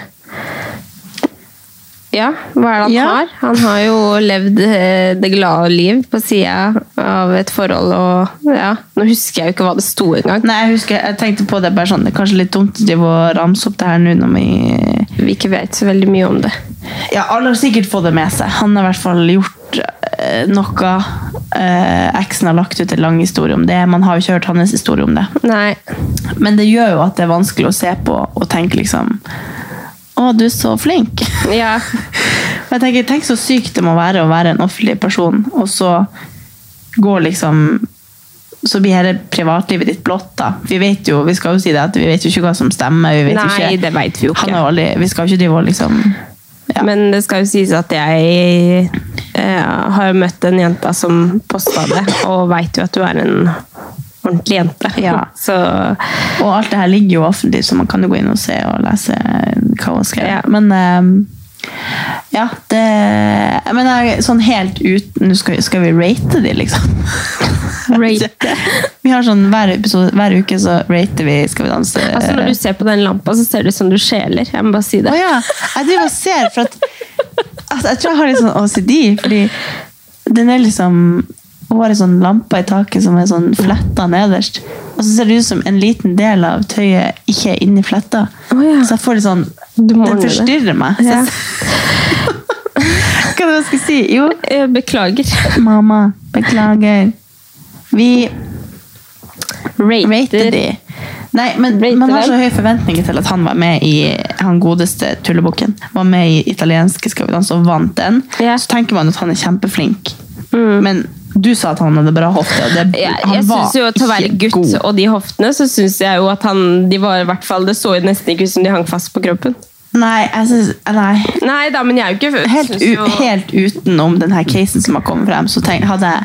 S3: Ja, hva er det han har? Han har jo levd eh, det glade liv på sida av et forhold og ja. Nå husker jeg jo ikke hva det sto engang.
S4: Nei, jeg husker, jeg tenkte på det bare sånn, det er kanskje litt dumt å drive og ramse opp det her nå når vi
S3: Vi ikke vet så veldig mye om det.
S4: Ja, alle har sikkert fått det med seg. Han har i hvert fall gjort eh, noe. Eh, eksen har lagt ut en lang historie om det. Man har jo ikke hørt hans historie om det.
S3: Nei.
S4: Men det gjør jo at det er vanskelig å se på og tenke liksom Å, du er så flink!
S3: Ja.
S4: jeg tenker, Tenk så sykt det må være å være en offentlig person, og så går liksom så blir hele privatlivet ditt blått. da. Vi vet jo vi skal jo si det at vi vet jo ikke hva som stemmer. Vi vet jo
S3: Nei,
S4: ikke,
S3: det vet vi jo ikke.
S4: Han har jo aldri, vi skal jo ikke drive og liksom
S3: Men det skal jo sies at jeg eh, har møtt en jenta som posta det, og veit jo at du er en ordentlig jente. eh,
S4: Og alt det her ligger jo offentlig, så man kan jo gå inn og se og lese eh, hva hun skrev. Men eh, ja, det Men jeg, sånn helt uten Nå skal, skal vi rate de, liksom.
S3: Rate?
S4: vi har sånn hver, episode, hver uke så rater vi Skal vi danse.
S3: Altså, når du ser på den lampa, så ser det ut som du skjeler. Jeg må bare si det.
S4: Å ja. Jeg driver og ser, for at altså, Jeg tror jeg har litt sånn OCD, fordi den er liksom Hun har en sånn lampe i taket som er sånn fletta nederst. Og så ser det ut som en liten del av tøyet ikke er inni fletta. Så jeg får litt sånn
S3: må
S4: Den
S3: ordne det.
S4: forstyrrer meg. Så jeg, Hva var det jeg skulle si? Jo.
S3: Beklager.
S4: Mamma, beklager. Vi
S3: rater,
S4: de. Nei, men man har så høye forventninger til at han var med i han godeste tullebukken. Var med i italienske Skal vi danse og vant den. Så tenker man at han er kjempeflink. Men du sa at han hadde bra hofte, og det, han
S3: Mm. jeg
S4: var
S3: synes jo til å være gutt og de hoftene, så syns jeg jo at han de var i hvert fall, Det så jo nesten ikke ut som de hang fast på kroppen.
S4: Nei, jeg synes, nei.
S3: Nei da, men jeg er jo ikke
S4: Helt,
S3: synes
S4: u,
S3: jo-
S4: helt utenom denne casen som har kommet frem, så tenk, hadde jeg,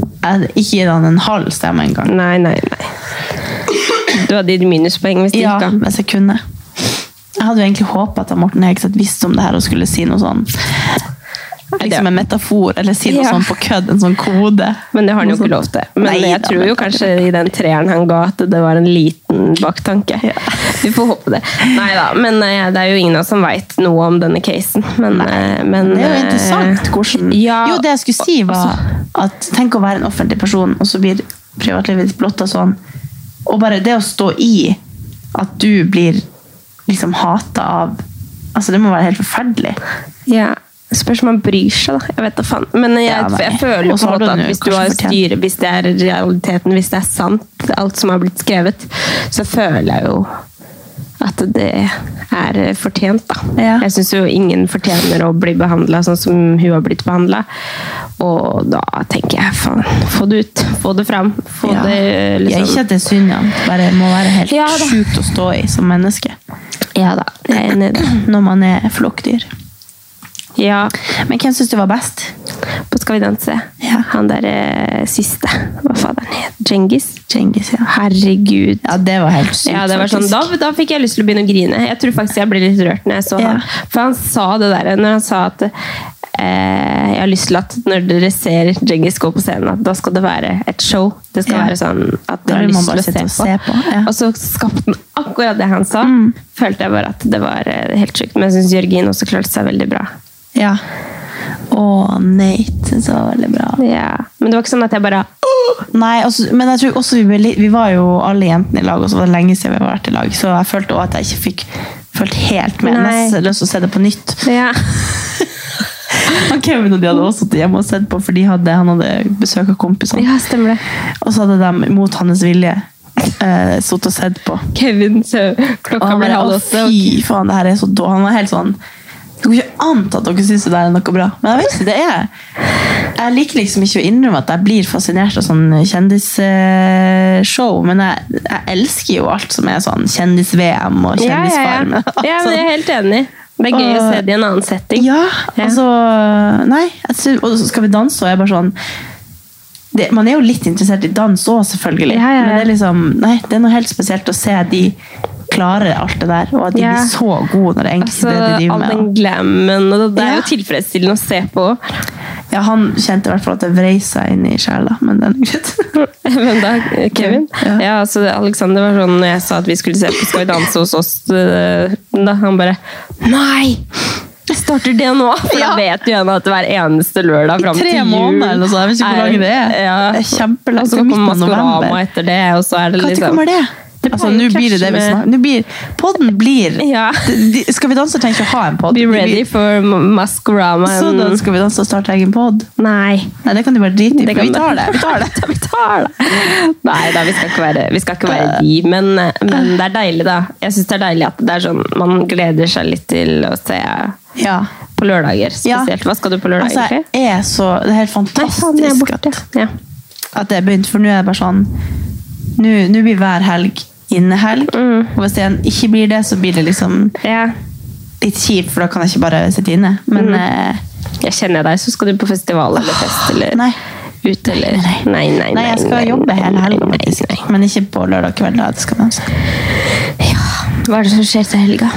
S4: jeg hadde ikke gitt han en halv stemme engang.
S3: Nei, nei, nei. Du hadde gitt minuspoeng hvis det
S4: ja,
S3: gikk an.
S4: hvis jeg kunne. Jeg hadde jo egentlig håpet at han Morten Hegseth visste om det her og skulle si noe sånn Liksom en metafor, eller si noe
S3: Ja.
S4: sånn på kødd, en sånn kode.
S3: Men det har han
S4: Noe
S3: jo ikke
S4: sånt.
S3: lov til. Men
S4: Nei
S3: jeg
S4: da,
S3: tror
S4: men-
S3: jo kanskje i den treeren han ga, at det var en liten baktanke. Vi får håpe det. Nei da, men eh, det er jo ingen av oss som veit noe om denne casen. Men, eh, men
S4: Det er jo
S3: eh,
S4: interessant hvordan Jo, det jeg skulle si, var
S3: Altså-
S4: at tenk å være en offentlig person, og så blir privatlivet ditt blotta sånn. Og bare det å stå i at du blir liksom hata av Altså, det må være helt forferdelig.
S3: Ja. Spørs om han bryr seg, da. Jeg vet da faen. Men jeg,
S4: Ja, nei.
S3: jeg føler jo
S4: Og
S3: på
S4: så
S3: en
S4: har
S3: måte
S4: du
S3: at
S4: den jo
S3: hvis du
S4: kanskje
S3: har
S4: fortjent.
S3: styre, hvis det er realiteten, hvis det er sant, alt som har blitt skrevet, så føler jeg jo at det er fortjent, da. Jeg syns jo ingen fortjener å bli behandla sånn som hun har blitt behandla. Og da tenker jeg faen, få det ut. Få det fram. Få
S4: Ja.
S3: det
S4: Ja,
S3: liksom
S4: ikke at det er synd, ja. Bare må være helt
S3: Ja da.
S4: sjukt å stå i som menneske.
S3: Ja da, jeg er enig i det.
S4: Når man er flokkdyr.
S3: Ja.
S4: Men hvem syns du var best?
S3: På Skal vi danse. Han der eh, siste. Hva fader han het? Djengis? Herregud.
S4: Ja, det var helt sykt,
S3: Ja, det var sånn,
S4: faktisk.
S3: da, da fikk jeg lyst til å begynne å grine. Jeg tror faktisk jeg ble litt rørt når jeg så han. For han sa det der, når han sa at eh, jeg har lyst til at når dere ser Djengis gå på scenen, at da skal det være et show. Det skal
S4: Ja.
S3: være sånn at
S4: Da
S3: dere har
S4: vil man
S3: lyst
S4: bare
S3: til å se
S4: sitte
S3: på.
S4: og se på, Mm.
S3: Og så skapte han akkurat det han sa. Følte jeg bare at det var eh, helt sjukt. Men jeg syns Jørgin også klarte seg veldig bra.
S4: Ja. Å, Nate syns jeg var veldig bra.
S3: Men det var ikke sånn at jeg bare
S4: Nei, altså, men jeg tror også vi, ble, litt- vi var jo alle jentene i lag, og så var det lenge siden vi har vært i lag, så jeg følte også at jeg ikke fikk følt helt med.
S3: Nei.
S4: Jeg har lyst til å se det på nytt. Han Kevin og de hadde også sittet hjemme og sett på, for de hadde, han hadde besøk av kompisene.
S3: Ja, stemmer det.
S4: Og så hadde de, mot hans vilje, eh, sittet og sett på.
S3: Kevin, så
S4: Og
S3: klokka
S4: han
S3: ble
S4: bare,
S3: halv
S4: å
S3: åtte.
S4: fy faen, det her er så dårlig. Han var helt sånn, det går ikke an til at dere synes det der er noe bra. Men jeg vet ikke, det er Jeg liker liksom ikke å innrømme at jeg blir fascinert av sånn kjendisshow, men jeg, jeg elsker jo alt som er sånn kjendis-VM og
S3: Ja, ja, ja.
S4: kjendisfarm.
S3: Ja, men jeg er helt enig. Det er gøy å se det i en annen setting.
S4: altså. Ja, altså Nei, jeg synes, og så skal vi danse, og jeg er bare sånn det, Man er jo litt interessert i dans òg, selvfølgelig.
S3: Ja, ja, ja.
S4: Men det er liksom Nei, det er noe helt spesielt å se at de klarer alt det der, og at de
S3: Ja.
S4: blir så gode når det er egentlig
S3: Altså,
S4: det de driver
S3: all
S4: med.
S3: den glammen, og det, det er jo tilfredsstillende å se på.
S4: Ja, han kjente i hvert fall at det vrei seg inn i sjela, men den er greit.
S3: Hvem da? Kevin? Ja, altså Alexander var sånn når jeg eh, sa at vi skulle se på Skal vi danse hos oss, øh, da han bare Nei! starter det nå, for da vet jo en at hver eneste lørdag fram til
S4: tre
S3: jul
S4: måneder eller noe sånt, jeg vet ikke hvor
S3: er-
S4: lenge det er.
S3: Ja.
S4: Det er kjempelangt,
S3: Og Så
S4: det er
S3: kommer
S4: midten av november.
S3: Maskorama etter det, og så er det
S4: Når
S3: liksom
S4: kommer det? Altså, nå blir det det vi snakker nå blir, Podden blir de- de- Skal vi danse trenger ikke å ha en podd.
S3: Be ready for Maskorama.
S4: Så da skal vi danse og starte egen podd?
S3: Nei.
S4: Nei, det kan du bare drite i.
S3: Det
S4: for
S3: kan
S4: Vi
S3: du-
S4: tar det. Vi tar det.
S3: vi tar det. Nei da, vi skal ikke være, vi skal ikke være
S4: Eh.
S3: de, men, men det er deilig, da. Jeg syns det er deilig at det er sånn, man gleder seg litt til å se på lørdager spesielt. Hva skal du på lørdag,
S4: Altså, jeg
S3: egentlig?
S4: er så, det er helt fantastisk at, at det er begynt, for nå er det bare sånn Nå nå blir hver helg innehelg, og hvis det en ikke blir det, så blir det liksom litt kjipt, for da kan jeg ikke bare sitte inne. Men eh,
S3: Jeg kjenner deg, så skal du på festival eller fest eller ut eller Nei, nei, nei.
S4: Nei, jeg skal jobbe hele helga, faktisk. Men ikke på lørdag kveld. Da. Det skal man
S3: Hva er det som skjer til helga?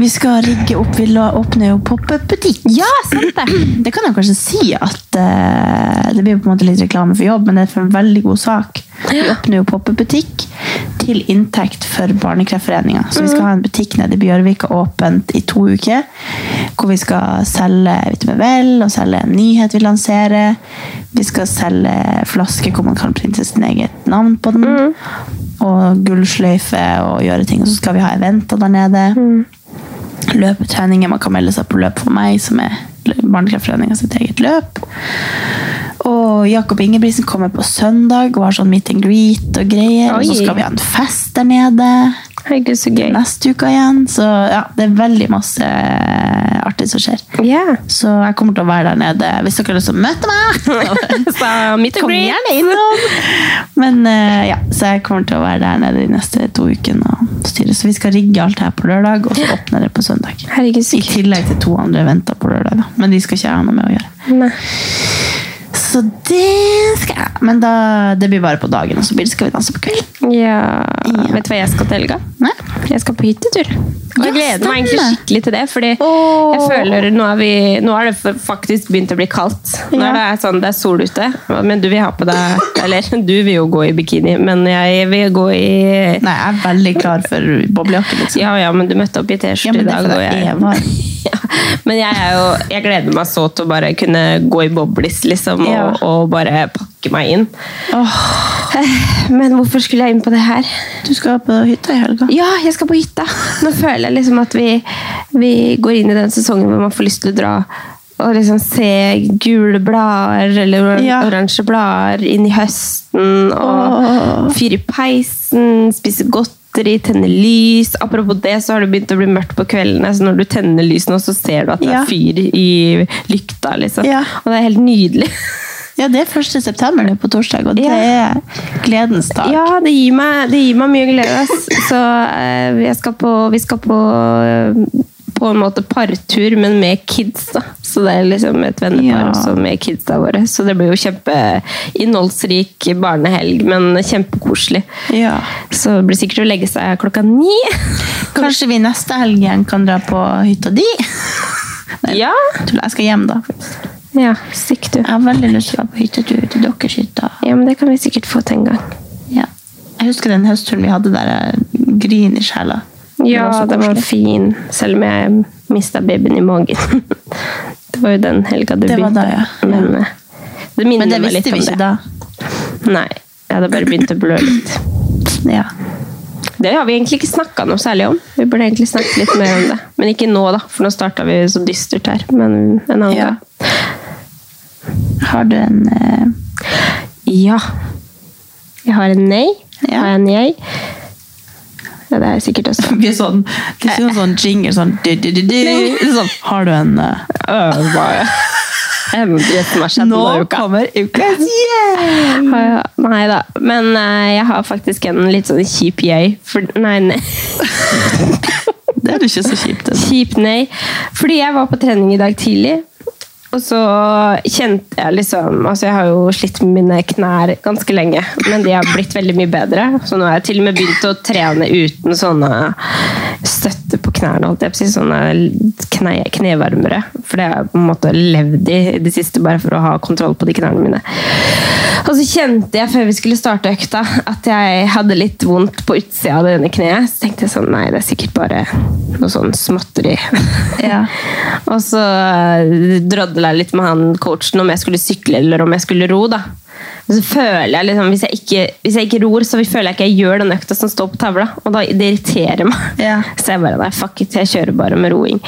S4: Vi skal rigge opp. Vi la- åpner jo pop-up-butikk. Ja, sant Det Det kan jeg kanskje si at eh, Det blir på en måte litt reklame for jobb, men det er for en veldig god sak. Vi åpner jo pop-up-butikk til inntekt for Barnekreftforeninga. Så vi skal ha en butikk nede i Bjørvika åpent i to uker. Hvor vi skal selge vitamin vel, og selge en nyhet vi lanserer. Vi skal selge flasker hvor man kan printe sitt eget navn på den. Og gullsløyfe og gjøre ting. Og så skal vi ha eventer der nede løpetreninger. Man kan melde seg på Løp for meg, som er Barnekreftforeninga sitt eget løp. Og Jakob Ingebrigtsen kommer på søndag og har sånn meet and greet og greier. Og så
S3: Oi.
S4: skal vi ha en fest der nede neste uke igjen. Så ja, det er veldig masse eh, artig som skjer. Så jeg kommer til å være der nede hvis dere har lyst til å møte meg.
S3: meet and
S4: Kom
S3: greet.
S4: gjerne innom! Men eh, ja, så jeg kommer til å være der nede de neste to ukene og styre. Så vi skal rigge alt her på lørdag, og så åpner det på søndag. I tillegg til to andre eventer på lørdag, da. men de skal ikke jeg ha noe med å gjøre. Så det skal jeg. Men da, det blir bare på dagen, og så blir det skal vi danse på kvelden.
S3: Ja. Vet du hva jeg skal til helga? Jeg skal på hyttetur. Og jeg gleder meg egentlig skikkelig til det, fordi jeg føler nå er, vi, nå er det f- faktisk begynt å bli kaldt. Nå er det, sånn, det er sol ute, men du vil ha på deg Eller du vil jo gå i bikini, men jeg vil gå i
S4: Nei, jeg er veldig klar for boblejakke. Liksom.
S3: Ja, ja, men du møtte opp i
S4: Ja,
S3: T-skjorte
S4: men
S3: i
S4: det er
S3: dag.
S4: fordi jeg er varm.
S3: Men jeg, er jo, jeg gleder meg så til å bare kunne gå i boblis, liksom, og,
S4: Ja.
S3: og bare pakke meg inn. Eh, Men hvorfor skulle jeg inn på det her?
S4: Du skal på hytta i helga.
S3: Ja, jeg skal på hytta! Nå føler jeg liksom at vi, vi går inn i den sesongen hvor man får lyst til å dra og liksom se gule blader eller or-
S4: Ja.
S3: oransje blader inn i høsten. Og fyre i peisen, spise godteri, tenne lys. Apropos det, så har det begynt å bli mørkt på kveldene, så når du tenner lys nå, så ser du at det
S4: Ja.
S3: er fyr i lykta. liksom.
S4: Ja.
S3: Og det er helt nydelig.
S4: Ja, det er 1. september nå på torsdag, og det er gledens dag.
S3: Ja, det gir meg, det gir meg mye glede. ass. Så eh, jeg skal på, vi skal på eh, på en måte partur, men med kids. da. Så det er liksom et vennepar
S4: Ja.
S3: også med kidsa våre. Så det blir jo kjempeinnholdsrik barnehelg, men kjempekoselig.
S4: Ja.
S3: Så det blir sikkert å legge seg klokka ni.
S4: Kanskje vi neste helg igjen kan dra på hytta di? Nei,
S3: Ja.
S4: tuller, Jeg skal hjem, da.
S3: Ja, stikk du.
S4: Jeg har veldig lyst til å dra på hyttetur til deres hytta.
S3: Ja, men det kan vi sikkert få til en gang.
S4: Ja. Jeg husker den høstturen vi hadde der. jeg Grin i sjela.
S3: Ja,
S4: så
S3: den var fin, selv om jeg mista babyen i magen. det var jo den helga det
S4: Det var
S3: begynte.
S4: da, ja.
S3: Men eh, det minner
S4: Men det
S3: meg litt
S4: visste
S3: om
S4: vi
S3: det.
S4: ikke da.
S3: Nei, jeg hadde bare begynt å blø litt.
S4: Ja.
S3: Det har vi egentlig ikke snakka noe særlig om. Vi burde egentlig snakke litt mer om det. Men ikke nå, da, for nå starta vi så dystert her. Men en annen
S4: Ja.
S3: gang.
S4: Har du en eh,
S3: Ja. Jeg har en nei. Jeg har en jeg. Ja, det er sikkert også.
S4: Vi er sånn, det er sånn, sånn jingle sånn, du, du, du, du. Det er sånn Har du en eh, Nå kommer ukas yeah!
S3: Har jeg- Nei da. Men eh, jeg har faktisk en litt sånn kjip jeg. For, nei, nei.
S4: Det er jo ikke så kjipt. altså.
S3: Kjipt nei. Fordi jeg var på trening i dag tidlig. Og så kjente jeg liksom Altså, jeg har jo slitt med mine knær ganske lenge, men de har blitt veldig mye bedre. Så nå har jeg til og med begynt å trene uten sånne støtte på knærne, holdt jeg på å si. Sånne kne, knevarmere. For det har jeg på en måte levd i i det siste, bare for å ha kontroll på de knærne mine. Og så kjente jeg før vi skulle starte økta, at jeg hadde litt vondt på utsida av det ene kneet. Så tenkte jeg sånn Nei, det er sikkert bare noe sånn småtteri. og så eh, drodla jeg litt med han coachen om jeg skulle sykle eller om jeg skulle ro. da. Men så føler jeg liksom, hvis jeg, ikke, hvis jeg ikke ror, så føler jeg ikke jeg gjør den økta som står på tavla. Og da, det irriterer meg. Så jeg bare nei, fuck it, jeg kjører bare med roing.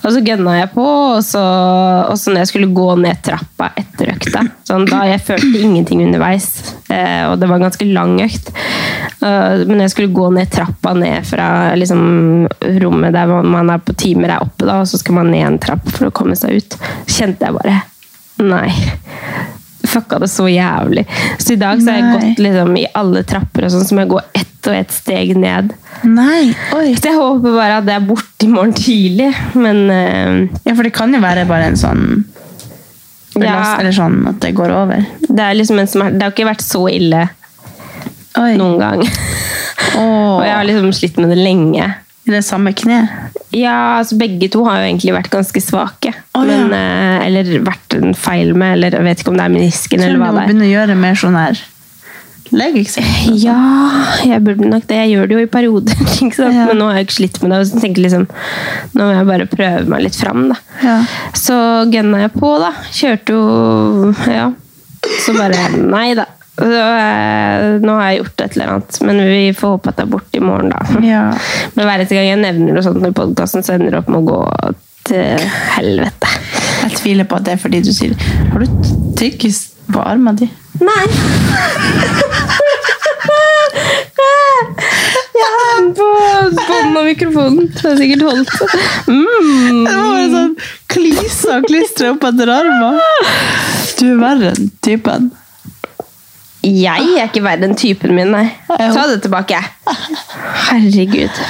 S3: Og så gønna jeg på, og så, og så når jeg skulle gå ned trappa etter økta sånn, Da jeg følte ingenting underveis, eh, og det var en ganske lang økt. Eh, men når jeg skulle gå ned trappa ned fra liksom, rommet der man er på timer er oppe, da, og så skal man ned en trapp for å komme seg ut, kjente jeg bare Nei fucka det så jævlig. Så i dag så har jeg
S4: Nei.
S3: gått liksom, i alle trapper og sånn, så må jeg gå ett og ett steg ned.
S4: Nei,
S3: Så jeg håper bare at det er borte i morgen tidlig, men eh,
S4: Ja, for det kan jo være bare en sånn belast- Eller sånn at det går over.
S3: Det er liksom en smerte. Det har ikke vært så ille noen gang. Og jeg har liksom slitt med det lenge.
S4: I det samme kneet?
S3: Ja, altså begge to har jo egentlig vært ganske svake. men, eh, eller vært en feil med, eller jeg vet ikke om det er menisken
S4: Tror
S3: eller
S4: du
S3: hva
S4: må
S3: det er.
S4: begynne å gjøre mer sånn her legeeksamen?
S3: Ja, jeg burde nok det. Jeg gjør det jo i perioder. Ikke sant? Men nå har jeg ikke slitt med det. og så tenker jeg liksom, Nå må jeg bare prøve meg litt fram. Da. Så gønna jeg på, da. Kjørte jo Ja. Så bare Nei da. Så, eh, nå har jeg gjort et eller annet, men vi får håpe at det er borte i morgen, da. Men hver eneste gang jeg nevner noe sånt i podkasten, så ender det opp med å gå til helvete.
S4: Jeg tviler på at det er fordi du sier Har du tyggis på armen din?
S3: Nei. Jeg har den på bånd av mikrofonen. Det har sikkert holdt. Mm.
S4: Det var bare sånn klisa og klistra opp etter armen. Du er verre enn typen.
S3: Jeg er ikke verre enn typen min, nei. Ta det tilbake. Herregud.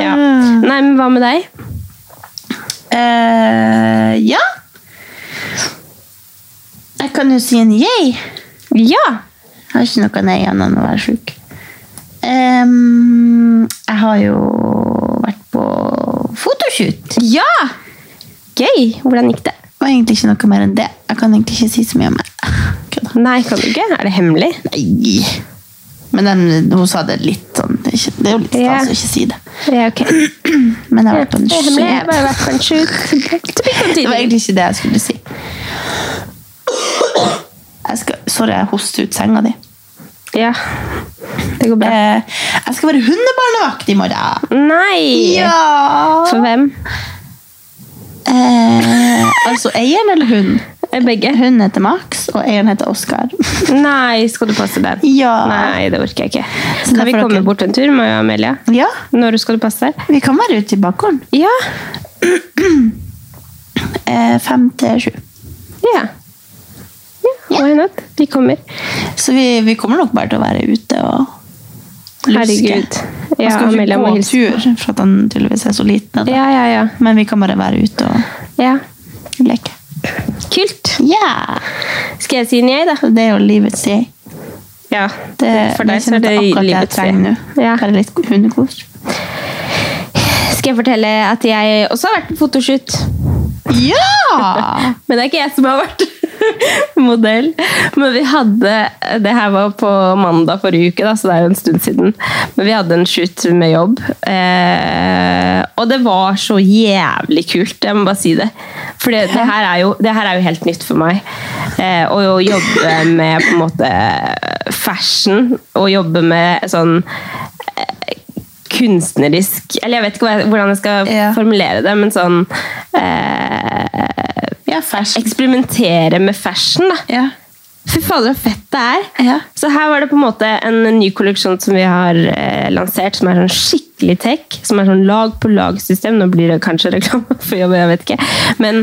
S3: Ja. Nei, men hva med deg?
S4: Eh, ja. Jeg kan jo si en yay.
S3: Ja.
S4: Jeg har ikke noe nei annet enn å være sjuk. Em, jeg har jo vært på fotoshoot.
S3: Ja! Gøy! Hvordan gikk det?
S4: Og egentlig ikke noe mer enn det. Jeg kan egentlig ikke si så mye om det.
S3: Nei, kan du ikke? Er det hemmelig?
S4: Nei. Men den, hun sa det litt sånn ikke, Det er jo litt stas å ikke si det.
S3: Ja, ok.
S4: Men jeg har vært på en
S3: Det er sånn hemmelig. Jeg har bare
S4: shoot.
S3: vært på en shoot.
S4: Det var egentlig ikke det jeg skulle si. Jeg skal, sorry, jeg hoster ut senga di.
S3: Ja. Det går bra.
S4: Eh, jeg skal være hundebarnevakt i morgen.
S3: Nei!
S4: Ja!
S3: For hvem?
S4: Eh, altså eieren eller hun?
S3: Eh, Begge.
S4: Hun heter Max, og eieren heter Oskar.
S3: Nei, skal du passe den?
S4: Ja.
S3: Nei, det orker jeg ikke.
S4: Så
S3: kan
S4: derfor
S3: vi komme
S4: dere-
S3: bort en tur, meg og Amelia?
S4: Ja.
S3: Når skal du passe der?
S4: Vi kan være ute i bakgården.
S3: Ja.
S4: Eh, fem til sju.
S3: Ja. ja. Why not? Vi kommer.
S4: Så vi, vi kommer nok bare til å være ute og luske.
S3: Herregud. Ja,
S4: Man skal jo
S3: Amelia
S4: ikke
S3: må
S4: gå
S3: hilse.
S4: tur, for at han tydeligvis er så liten. da.
S3: Ja, ja, ja.
S4: Men vi kan bare være ute og
S3: ja.
S4: leke.
S3: Kult.
S4: Yeah!
S3: Skal jeg si en jeg, da?
S4: Det er jo livets jeg.
S3: Ja.
S4: Det,
S3: For deg
S4: jeg
S3: så
S4: kjenner
S3: er det
S4: at akkurat det jeg
S3: livets
S4: trenger nå.
S3: Ja.
S4: Bare litt hundekos.
S3: Skal jeg fortelle at jeg også har vært på fotoshoot?
S4: Ja!
S3: Men det er ikke jeg som har vært modell. Men vi hadde Det her var på mandag forrige uke, da, så det er jo en stund siden. Men vi hadde en shoot med jobb. Eh, og det var så jævlig kult, jeg må bare si det. For det, det, her, er jo, det her er jo helt nytt for meg. Eh, å jo jobbe med på en måte fashion, og jobbe med sånn eh, kunstnerisk Eller jeg vet ikke hva jeg- hvordan jeg skal formulere det, men sånn eh, Eksperimentere med fashion, da. Fy fader, så fett det er! Så her var det på en måte en ny kolleksjon som vi har eh, lansert, som er sånn skikkelig tech. Som er sånn lag på lag-system. Nå blir det kanskje reklame for jobb, jeg vet ikke. Men,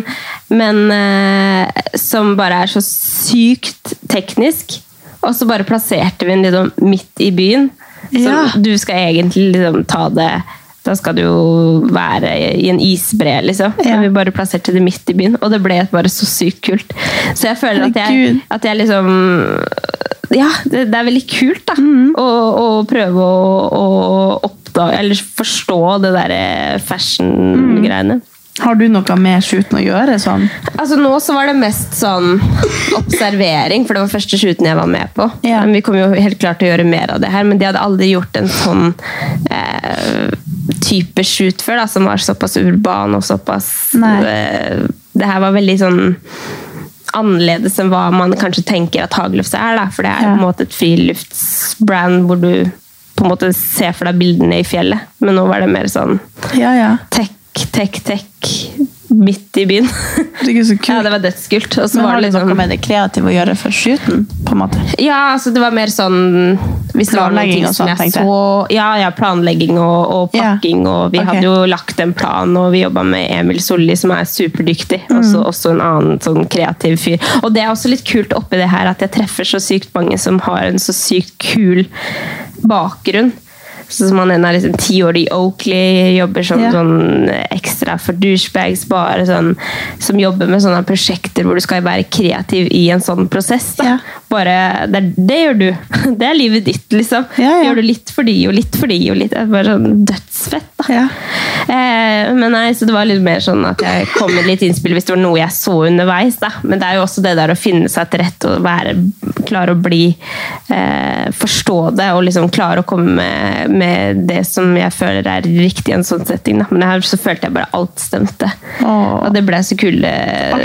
S3: men eh, som bare er så sykt teknisk. Og så bare plasserte vi den liksom midt i byen. Så
S4: Ja.
S3: du skal egentlig liksom ta det Da skal du jo være i en isbre, liksom. Men vi bare plasserte det midt i byen, og det ble bare så sykt kult. Så jeg føler at jeg,
S4: Herregud.
S3: at jeg liksom Ja, det, det er veldig kult, da. Å, å prøve å, å oppdage eller forstå det derre fashion-greiene.
S4: Har du noe med shooten å gjøre? sånn?
S3: Altså Nå så var det mest sånn observering, for det var første shooten jeg var med på. Men vi kommer jo helt klart til å gjøre mer av det her, men de hadde aldri gjort en sånn eh, type shoot før, da, som var såpass urban og såpass eh, Det her var veldig sånn annerledes enn hva man kanskje tenker at Hagelufs er, da, for det er på en måte et friluftsbrand hvor du på en måte ser for deg bildene i fjellet, men nå var det mer sånn
S4: Ja, ja.
S3: tech, tech, tech midt i byen.
S4: Det,
S3: ja, det var dødskult. Og så
S4: Men
S3: var
S4: har
S3: det
S4: det
S3: liksom
S4: noe med det kreative å gjøre for shooten? på en måte?
S3: ja, altså det var mer sånn Hvis det var noen
S4: Planlegging
S3: ting
S4: og
S3: som
S4: sånt,
S3: jeg
S4: tenkte jeg.
S3: så Ja, ja, planlegging og, og pakking, og vi
S4: ok.
S3: hadde jo lagt en plan, og vi jobba med Emil Solli, som er superdyktig,
S4: Mm.
S3: og så også en annen sånn kreativ fyr. Og det er også litt kult oppi det her at jeg treffer så sykt mange som har en så sykt kul bakgrunn. Sånn som han ene er liksom ti år i Oakley, jobber som
S4: Ja.
S3: sånn ekstra for douchebags, bare sånn Som jobber med sånne prosjekter hvor du skal være kreativ i en sånn prosess. da. Bare, det, er- det gjør du. Det er livet ditt, liksom. Gjør du litt for de og litt for de og litt det er Bare sånn dødsfett, da. Eh, men nei, så det var litt mer sånn at jeg kom med litt innspill hvis det var noe jeg så underveis, da. Men det er jo også det der å finne seg til rette og være klare å bli eh, Forstå det og liksom klare å komme med, med det som jeg føler er riktig i en sånn setting, da. Men her så følte jeg bare alt stemte. Og det ble så kule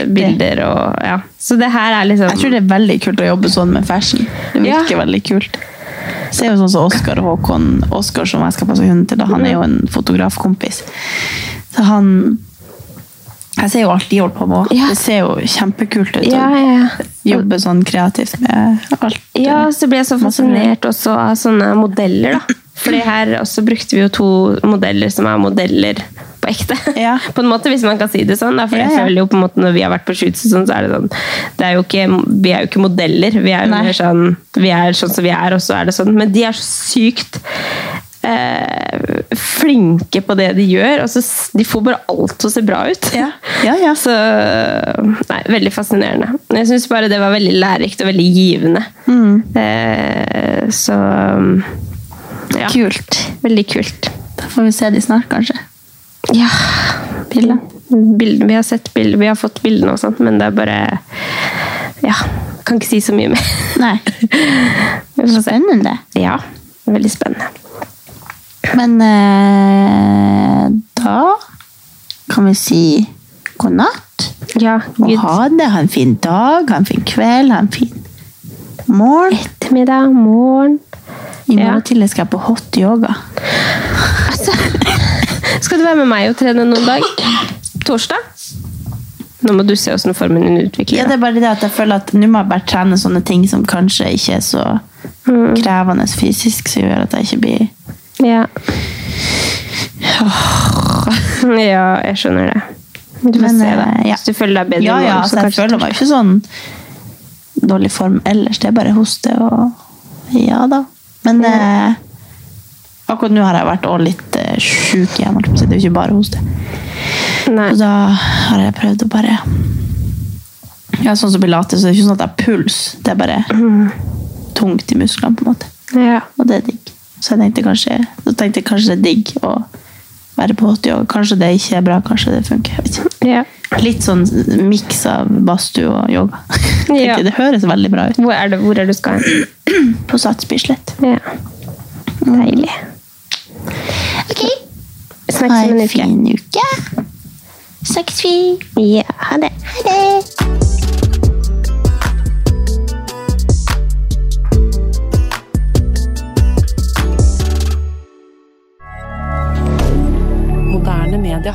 S3: bilder og ja. Så det her er liksom
S4: Jeg tror det er veldig kult å jobbe sånn med fashion. Det virker veldig kult. Så er jo sånn som Oskar og Håkon Oskar, som jeg skal passe hunden til, da, han er jo en fotografkompis. Så han Jeg ser jo alt de holder på med. også. Det ser jo kjempekult ut. å
S3: Ja, ja, ja.
S4: Jobbe sånn kreativt med alt.
S3: Ja, så ble jeg så fascinert også av sånne modeller, da. Fordi her også brukte vi jo to modeller som er modeller på ekte. På en måte, hvis man kan si det sånn. Da. For
S4: Ja,
S3: jeg
S4: ja.
S3: føler jo på en måte når vi har vært på shoots, og sånn, så er det sånn det er jo ikke, Vi er jo ikke modeller. Vi er jo mer sånn vi er sånn som vi er, og så er det sånn. Men de er så sykt eh, flinke på det de gjør. Og så s- de får bare alt til å se bra ut. Så Nei, veldig fascinerende. Men Jeg syns bare det var veldig lærerikt og veldig givende.
S4: Mm.
S3: Eh, så ja.
S4: Kult.
S3: Veldig kult.
S4: Da får vi se de snart, kanskje.
S3: Ja. Bilder. Bilder. Vi har sett bilder, vi har fått bildene og sånt, men det er bare Ja. Kan ikke si så mye mer.
S4: Nei. Spennende.
S3: Ja. Veldig spennende.
S4: Men eh, da kan vi si god natt.
S3: Ja,
S4: og ha det. Ha en fin dag, ha en fin kveld, ha en fin morgen.
S3: Ettermiddag, morgen.
S4: I morgen tidlig skal jeg på hot yoga.
S3: Skal du være med meg og trene noen dag? Torsdag? Nå må du se åssen formen din utvikler
S4: Ja, det er bare det at jeg føler at nå må jeg bare trene sånne ting som kanskje ikke er så krevende fysisk, som gjør at jeg ikke blir
S3: Ja. ja, jeg skjønner det. Du får
S4: Men,
S3: se, da.
S4: eh, ja.
S3: Hvis du føler deg bedre
S4: Ja,
S3: i morgen,
S4: ja,
S3: så
S4: altså, jeg
S3: kanskje
S4: føler meg jo ikke sånn dårlig form ellers. Det er bare hoste og Ja da. Men eh, akkurat nå har jeg vært også litt eh, sjuk igjen. holdt jeg på å si. Det er jo ikke bare hoste. Og da har jeg prøvd å bare Ja, sånn som pilates, så det er ikke sånn at jeg har puls. Det er bare tungt i musklene, på en måte. Og det er digg. Så jeg tenkte kanskje, så tenkte jeg kanskje det er digg å være på 80 år. Kanskje det ikke er bra, kanskje det funker. Jeg vet
S3: ikke.
S4: Litt sånn miks av badstue og yoga. Tenkte jeg, Det høres veldig bra ut.
S3: Hvor er det, hvor er det du skal hen?
S4: På Sats Bislett.
S3: Ja. Deilig.
S4: Ok.
S3: Snakkes om en uke.
S4: Fin uke. Snakkes vi.
S3: Ja, ha det.
S4: Ha det.
S7: Moderne media.